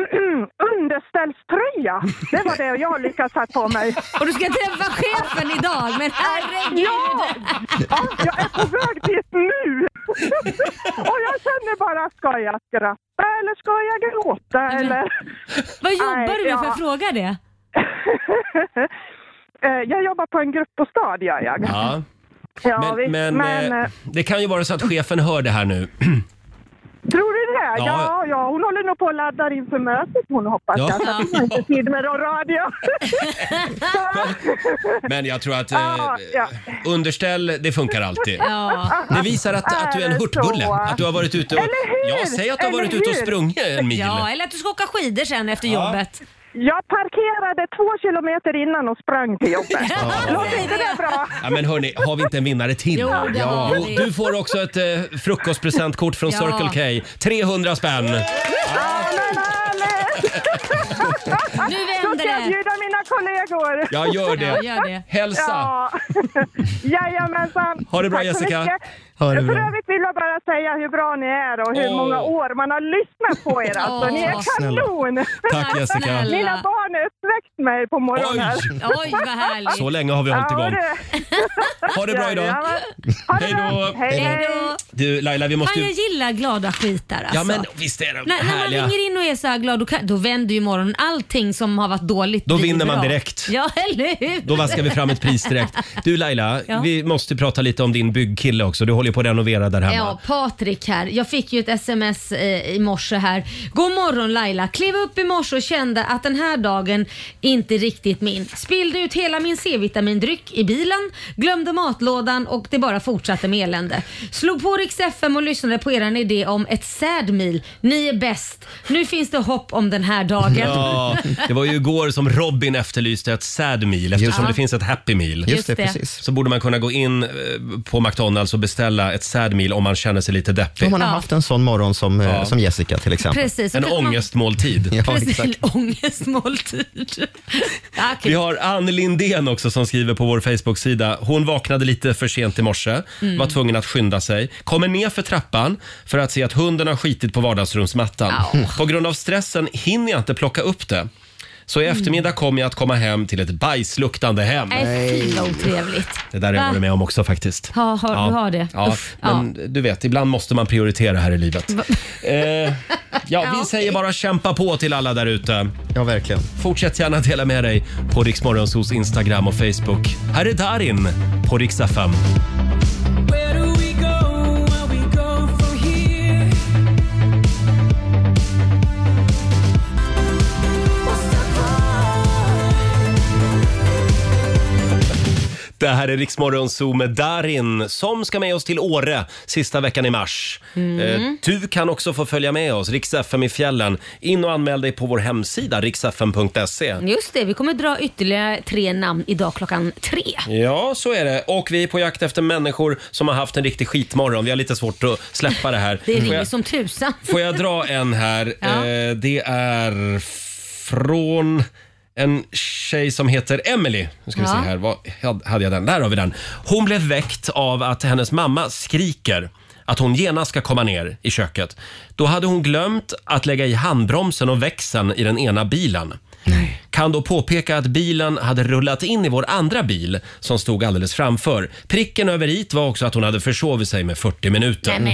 Underställströja! Det var det jag lyckades ha på mig. Och du ska träffa chefen idag, men herregud! Ja! ja jag är på väg dit nu! Och jag känner bara, ska jag skratta eller ska jag gråta eller? Vad jobbar du med? Får jag fråga det? Eh, jag jobbar på en gruppbostad gör jag. Ja. Ja, Men, visst, men, eh, eh, det kan ju vara så att chefen hör det här nu. Tror du det? Ja. Ja. ja, hon håller nog på och laddar inför mötet hon hoppas Ja. jag. Så att hon har inte tid med radio. Men jag tror att eh, ja, ja. underställ, det funkar alltid. Ja. Det visar att, att du är en Är det hurtbulle. så? Att du har varit ute och... Eller hur? Ja, säg att du har Eller varit ute och hur? sprungit en mil. Ja, eller att du ska åka skidor sen efter Ja. jobbet. Jag parkerade två kilometer innan och sprang till jobbet. Låter inte det bra? Ja, men hörni, har vi inte en vinnare till? Jo, det ja. har vi. Du får också ett eh, frukostpresentkort från Ja. Circle K. 300 spänn. Nu vänder Då ska jag det. bjuda mina kollegor. Ja, gör det. Ja, gör det. Hälsa. Ja. Jajamensan. Ha det bra, Tack så Jessica. mycket. Ha det För bra. övrigt vill jag bara säga hur bra ni är och hur Åh. många år man har lyssnat på er. Alltså, Åh. ni är Snälla. kanon! Tack, Jessica. Mina barn har uppväckt mig på morgonen. här. Oj. Oj, vad härligt. Så länge har vi hållit igång. det. Ha det bra idag. Ha det Hej bra. då. Hej då! Du, Laila, vi måste Fan, ju... jag gillar glada skitar alltså. Ja, men visst är de när, när man härliga. ringer in och är så här glad, då, kan, då vänder ju morgonen. Allting som har varit dåligt Då blir vinner man bra. direkt. Ja, eller hur? Då vaskar vi fram ett pris direkt. Du Laila, Ja. vi måste prata lite om din byggkille också. Du håller ju på att renovera där hemma. Ja, Patrik här. Jag fick ju ett sms eh, i morse här. God morgon Laila. Klev upp i morse och kände att den här dagen inte är riktigt min. Spillde ut hela min C-vitamindryck i bilen, glömde matlådan och det bara fortsatte med elände. Slog på Rix FM och lyssnade på er idé om ett sad meal. Ni är bäst. Nu finns det hopp om den här dagen. Ja, det var ju igår som Robin efterlyste ett sad meal eftersom det. det finns ett happy meal. Just det, precis. Så borde man kunna gå in eh, på McDonalds och beställa ett sad meal om man känner sig lite deppig. Om man har haft en sån morgon som, eh, Ja. som Jessica till exempel. Precis, så en kan man- ångestmåltid. Precis, ångestmåltid. Ja, okej. Vi har Ann Lindén också som skriver på vår Facebook-sida. Hon vaknade lite för sent i morse, Mm. var tvungen att skynda sig. Kommer ner för trappan för att se att hunden har skitit på vardagsrumsmattan. Mm. På grund av stressen hinner jag inte plocka upp det. Så i eftermiddag kommer jag att komma hem till ett bajsluktande hem. Nej, fy vad otrevligt. Det där har jag Va? varit med om också faktiskt. Ah. Ja, har, Ja. du har det? Ja, Uff, men du vet, ibland måste man prioritera här i livet. Eh, ja, vi säger bara kämpa på till alla där ute. Ja, verkligen. Fortsätt gärna dela med dig på Riksmorgonsos Instagram och Facebook. Här är Darin på Riksdag 5. Where do we go? Where we go from here? Det här är Riksmorgonso med Darin som ska med oss till Åre sista veckan i mars. Mm. Eh, du kan också få följa med oss, Rix FM i fjällen. In och anmäl dig på vår hemsida, riksfm.se. Just det, vi kommer dra ytterligare tre namn idag klockan tre. Ja, så är det. Och vi är på jakt efter människor som har haft en riktig skitmorgon. Vi har lite svårt att släppa det här. Det Mm. Får ringer jag- som tusan. Får jag dra en här? Ja. Eh, det är från en tjej som heter Emily. Nu ska vi Ja. se här. Vad, had- hade jag den? Där har vi den. Hon blev väckt av att hennes mamma skriker att hon genast ska komma ner i köket. Då hade hon glömt att lägga i handbromsen och växeln i den ena bilen. Kan då påpeka att bilen hade rullat in i vår andra bil som stod alldeles framför. Pricken över it var också att hon hade försovit sig med 40 minuter. Nej, men.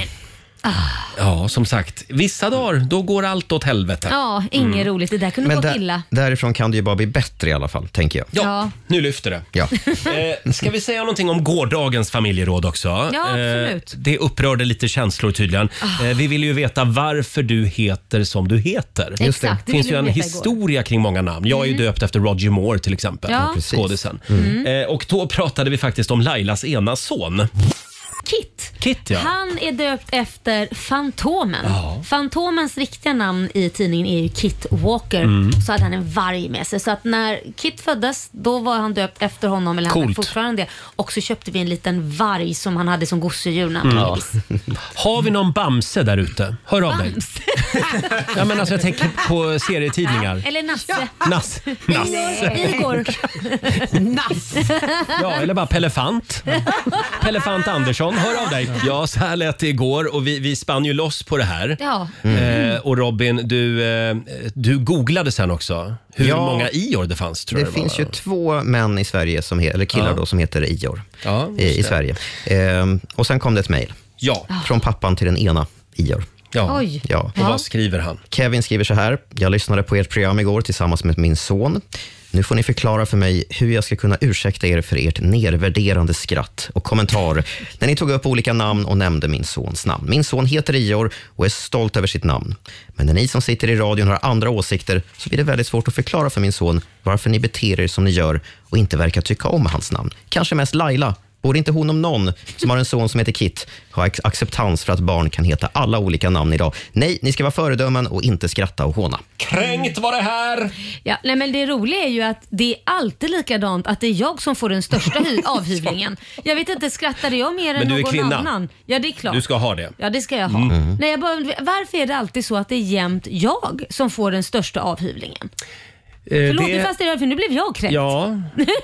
Ja, som sagt. Vissa dagar, då går allt åt helvete. Ja, inget Mm. roligt. Det där kunde Men gått där- illa. Därifrån kan det ju bara bli bättre i alla fall, tänker jag. Ja, nu lyfter det. Ja. Eh, ska vi säga någonting om gårdagens familjeråd också? Ja, absolut. Ah. Eh, det upprörde lite känslor tydligen. Eh, vi vill ju veta varför du heter som du heter. Just det. Exakt, det finns ville ju en vi veta igår. Mm. historia kring många namn. Jag är ju döpt efter Roger Moore till exempel, Ja. Ja, precis. skådisen. Mm. Eh, och då pratade vi faktiskt om Lailas ena son. Kit. Kit, ja. Han är döpt efter Fantomen. Ja. Fantomens riktiga namn i tidningen är ju Kit Walker. Mm. Så hade han en varg med sig. Så att när Kit föddes, då var han döpt efter honom. Eller han är Coolt. fortfarande det. Och så köpte vi en liten varg som han hade som gosedjur när han Mm. föddes. Har vi någon Bamse där ute? Hör av dig. Bamse. Ja, men alltså, jag tänker på serietidningar. Eller Nasse. Nass. Nasse. Igor. Nasse. Ja, eller bara Pelefant. Pelefant Andersson, hör av dig. Ja, så här lät det igår och vi, vi spann ju loss på det här. Ja. Eh, och Robin, du, eh, du googlade sen också hur Ja. många Ior det fanns. Tror det jag finns var. ju två män i Sverige, som he- eller killar Ja. då, som heter Ior Ja, i, i just det. Sverige. Ehm, och sen kom det ett mejl ja. från pappan till den ena Ior. Ja. Ah, Oj. Ja. Och vad skriver han? Kevin skriver så här. Jag lyssnade på ert program igår tillsammans med min son. Nu får ni förklara för mig hur jag ska kunna ursäkta er för ert nervärderande skratt och kommentar när ni tog upp olika namn och nämnde min sons namn. Min son heter Ior och är stolt över sitt namn. Men när ni som sitter i radion har andra åsikter så blir det väldigt svårt att förklara för min son varför ni beter er som ni gör och inte verkar tycka om hans namn. Kanske mest Laila. Borde inte hon om någon som har en son som heter Kit ha ac- acceptans för att barn kan heta alla olika namn idag? Nej, ni ska vara föredömen och inte skratta och håna. Kränkt var det här! Eh, Ja, nej men det roliga är ju att det är alltid likadant att det är jag som får den största hy- avhyvlingen. Jag vet inte, skrattade jag mer än Men du är någon kvinna. annan? Ja, det är klart. Du ska ha det. Ja, det ska jag ha. Mm. Nej, jag bara, undrar, varför är det alltid så att det är jämt jag som får den största avhyvlingen? Förlåt, nu fast det, för nu blev jag kränkt. Ja,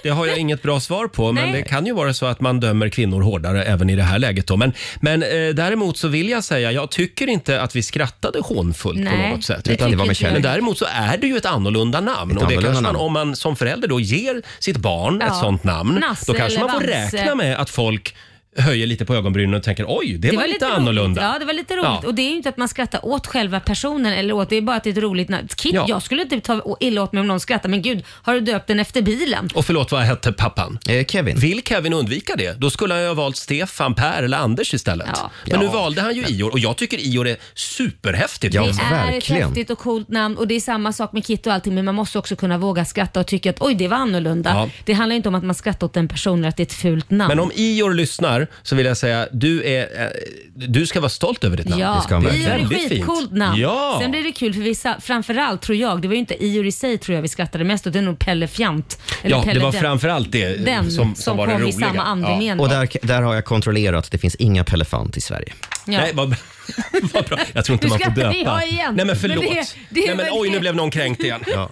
det har jag inget bra svar på, men Nej. det kan ju vara så att man dömer kvinnor hårdare även i det här läget. Då. Men, men eh, däremot så vill jag säga, jag tycker inte att vi skrattade hånfullt Nej, på något sätt. det tycker Det var med inte jag. men kärlek. däremot så är det ju ett annorlunda namn. Ett och det annorlunda kanske man, namn. om man som förälder då ger sitt barn Ja. ett sånt namn, Nasse då kanske man eller får Bamse. räkna med att folk höjer lite på ögonbrynen och tänker oj, det, var, lite, roligt. annorlunda. Ja, det var lite roligt. Ja. Och det är ju inte att man skrattar åt själva personen eller åt, det är bara att det är ett roligt namn. Kit, Ja. jag skulle inte ta illa åt mig om någon skrattar, men gud, har du döpt den efter bilen? Och förlåt, vad hette pappan? Eh, Kevin. Vill Kevin undvika det? Då skulle han ju ha valt Stefan, Per eller Anders istället. Men nu Ja. valde han ju Ior och jag tycker Ior är superhäftigt. det är ett häftigt och coolt namn och det är samma sak med Kit och allting men man måste också kunna våga skratta och tycka att oj det var annorlunda. Ja. Det handlar inte om att man skrattar åt en person eller att det är ett fult namn. Men om Ior lyssnar så vill jag säga du, är, eh, du ska vara stolt över ditt namn. Ja, Ior är väldigt skitcoolt namn. Ja. Sen blir det kul för vissa, framförallt tror jag, det var ju inte Ior i sig tror jag vi skrattade mest åt, det är nog Pelle Fjant. Eller Ja, Pelle det var den. framförallt det eh, Den som, som, som var det kom i roliga. samma andemening. Och där, där har jag kontrollerat, det finns inga Pelefant i Sverige. Ja. Nej, vad, vad bra. Jag tror inte Nu man får skrattar döpa. vi ha igen. Nej men Men förlåt. det- det är Nej, men, väl oj, det. nu blev någon kränkt igen. Ja,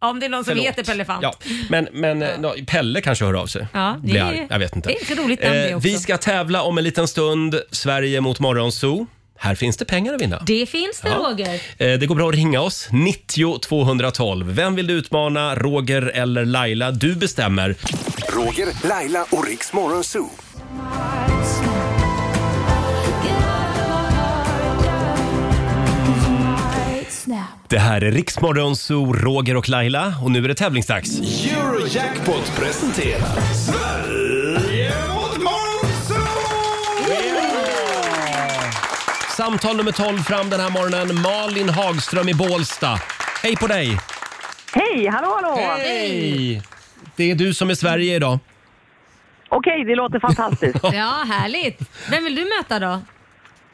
Om det är någon som Förlåt. heter Pelle Fjant. Ja, men, men eh, ja, Pelle kanske hör av sig. Ja, det Blir är- arg. jag vet inte. Eh, det är ett roligt namn det också. Vi ska tävla om en liten stund. Sverige mot Morgonzoo. Här finns det pengar att vinna. Det finns det Ja. Roger. Eh, Det går bra att ringa oss. 90 212. Vem vill du utmana? Roger eller Laila? Du bestämmer. Roger, Laila och Riks Morgonzoo. Det här är Riksmorgonzoo, Roger och Laila och nu är det tävlingsdags. Eurojackpot presenterar Sverige mot Samtal nummer 12 fram den här morgonen. Malin Hagström i Bålsta. Hej på dig! Hej, hallå, hallå! Hej! Det är du som är Sverige idag. Okej, det låter fantastiskt. Ja, härligt. Vem vill du möta då?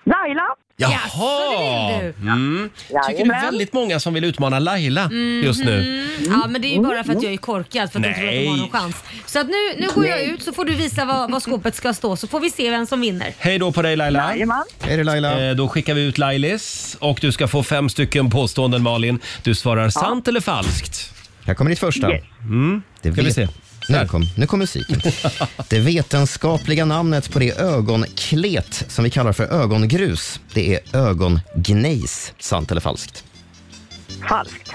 Laila! Jaha! Mm. Tycker det är Jajamän. väldigt många som vill utmana Laila just nu. Mhm. Ja, men det är ju bara för att jag är korkad för att de tror att de har Mm. Nej. någon chans. Så att nu, nu går jag ut så får du visa vad, vad skåpet ska stå så får vi se vem som vinner. Hej då på dig Laila. Jajamän. Hej då Eh, Laila. Då skickar vi ut Lailis och du ska få fem stycken påståenden Malin. Du svarar sant eller falskt. Här kommer ditt första. Yes. Mm. Det Ska vi vet- se. Nu kom, nu kom musiken. Det vetenskapliga namnet på det ögonklet som vi kallar för ögongrus, det är ögongnejs. Sant eller falskt? Falskt.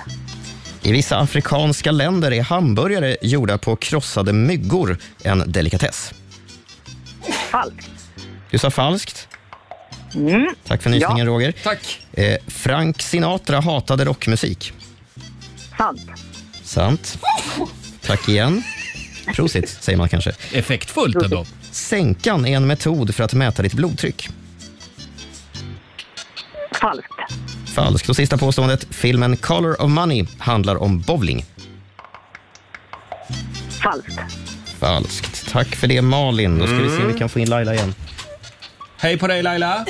I vissa afrikanska länder är hamburgare gjorda på krossade myggor en delikatess. Falskt. Du sa falskt. Tack för nysningen, Roger. Tack. Eh, Frank Sinatra hatade rockmusik. Sant. Sant. Tack igen. Prosit, säger man kanske. Effektfullt ändå. Sänkan är en metod för att mäta ditt blodtryck. Falskt. Falskt. Och sista påståendet. Filmen Color of Money handlar om bowling. Falskt. Falskt. Tack för det, Malin. Då ska vi se om vi kan få in Laila igen. Hej på dig Laila.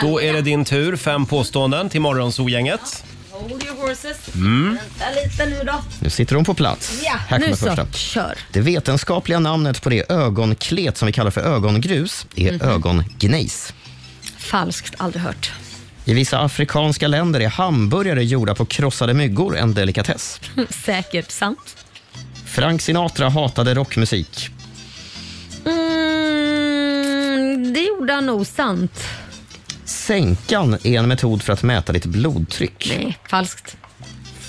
Då är det din tur. Fem påståenden till Morgonzoo-gänget. Hold your horses. Mm. Vänta lite nu då. Nu sitter hon på plats. Ja, Här kommer nu så. första. Kör. Det vetenskapliga namnet på det ögonklet som vi kallar för ögongrus är Mhm. ögongnejs. Falskt, aldrig hört. I vissa afrikanska länder är hamburgare gjorda på krossade myggor en delikatess. Mm, Säkert sant. Frank Sinatra hatade rockmusik. Mm, det gjorde han nog sant. Sänkan är en metod för att mäta ditt blodtryck. Nej, falskt.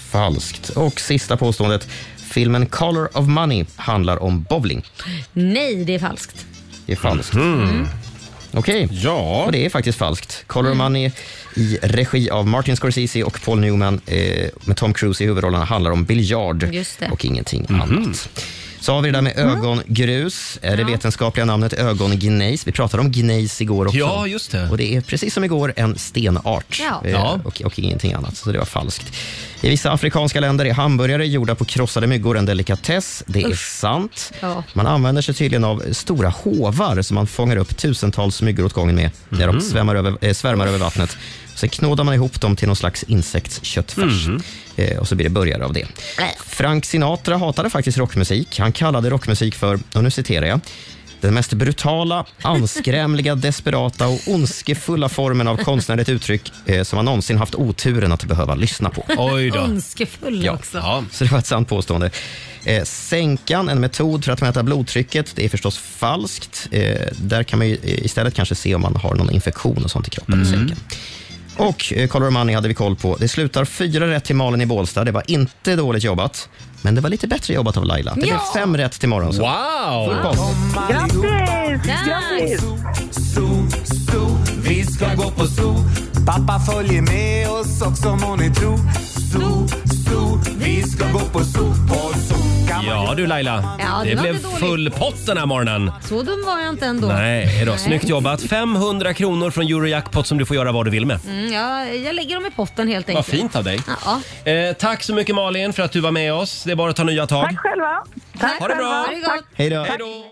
Falskt. Och sista påståendet. Filmen Color of Money handlar om bowling. Nej, det är falskt. Det är falskt. Okej. Ja. Och det är faktiskt falskt. Color Mm. of Money i regi av Martin Scorsese och Paul Newman eh, med Tom Cruise i huvudrollerna handlar om biljard Just det. Mm. och ingenting Mhm. annat. Så har vi det där med ögongrus, eh, det vetenskapliga namnet ögongnejs. Vi pratade om gnejs igår också. Ja, just det. Och det är precis som igår en stenart Ja. eh, Ja. Och, och ingenting annat, så det var falskt. I vissa afrikanska länder är hamburgare gjorda på krossade myggor en delikatess. Det är Usch. sant. Ja. Man använder sig tydligen av stora hovar som man fångar upp tusentals myggor åt gången med när de Mhm. svämmar över, eh, svärmar över vattnet. Sen knådar man ihop dem till någon slags insektsköttfärs eh, och så blir det burgare av det. Frank Sinatra hatade faktiskt rockmusik. Han kallade rockmusik för, och nu citerar jag, den mest brutala, anskrämliga, desperata och ondskefulla formen av konstnärligt uttryck eh, som man någonsin haft oturen att behöva lyssna på. Önskefull Ja. också. Så det var ett sant påstående. Eh, sänkan, en metod för att mäta blodtrycket, det är förstås falskt. Eh, där kan man ju eh, istället kanske se om man har någon infektion och sånt i kroppen. i Sänkan. Och eh, Color Money hade vi koll på. Det slutar fyra rätt till Malin i Bålsta. Det var inte dåligt jobbat. Men det var lite bättre jobbat av Laila. Det blev Ja. fem rätt till morgon. Så. Wow! Full bomb. Grattis! Grattis! Zoo, zoo, vi ska gå på zoo. Pappa följer med oss också må ni tro. Zoo, zoo, vi ska gå på zoo. På zoo. Ja du Laila, Ja, det det var blev inte dåligt. full pott den här morgonen. Så dum var jag inte ändå. Nej då, snyggt jobbat. 500 kronor från Eurojackpot som du får göra vad du vill med. Mm, ja, jag lägger dem i potten helt Vad enkelt. fint av dig. Ja. Eh, tack så mycket Malin för att du var med oss. Det är bara att ta nya tag. själva. Tack Ha det bra. Ha det gott. Hej då. Hej då.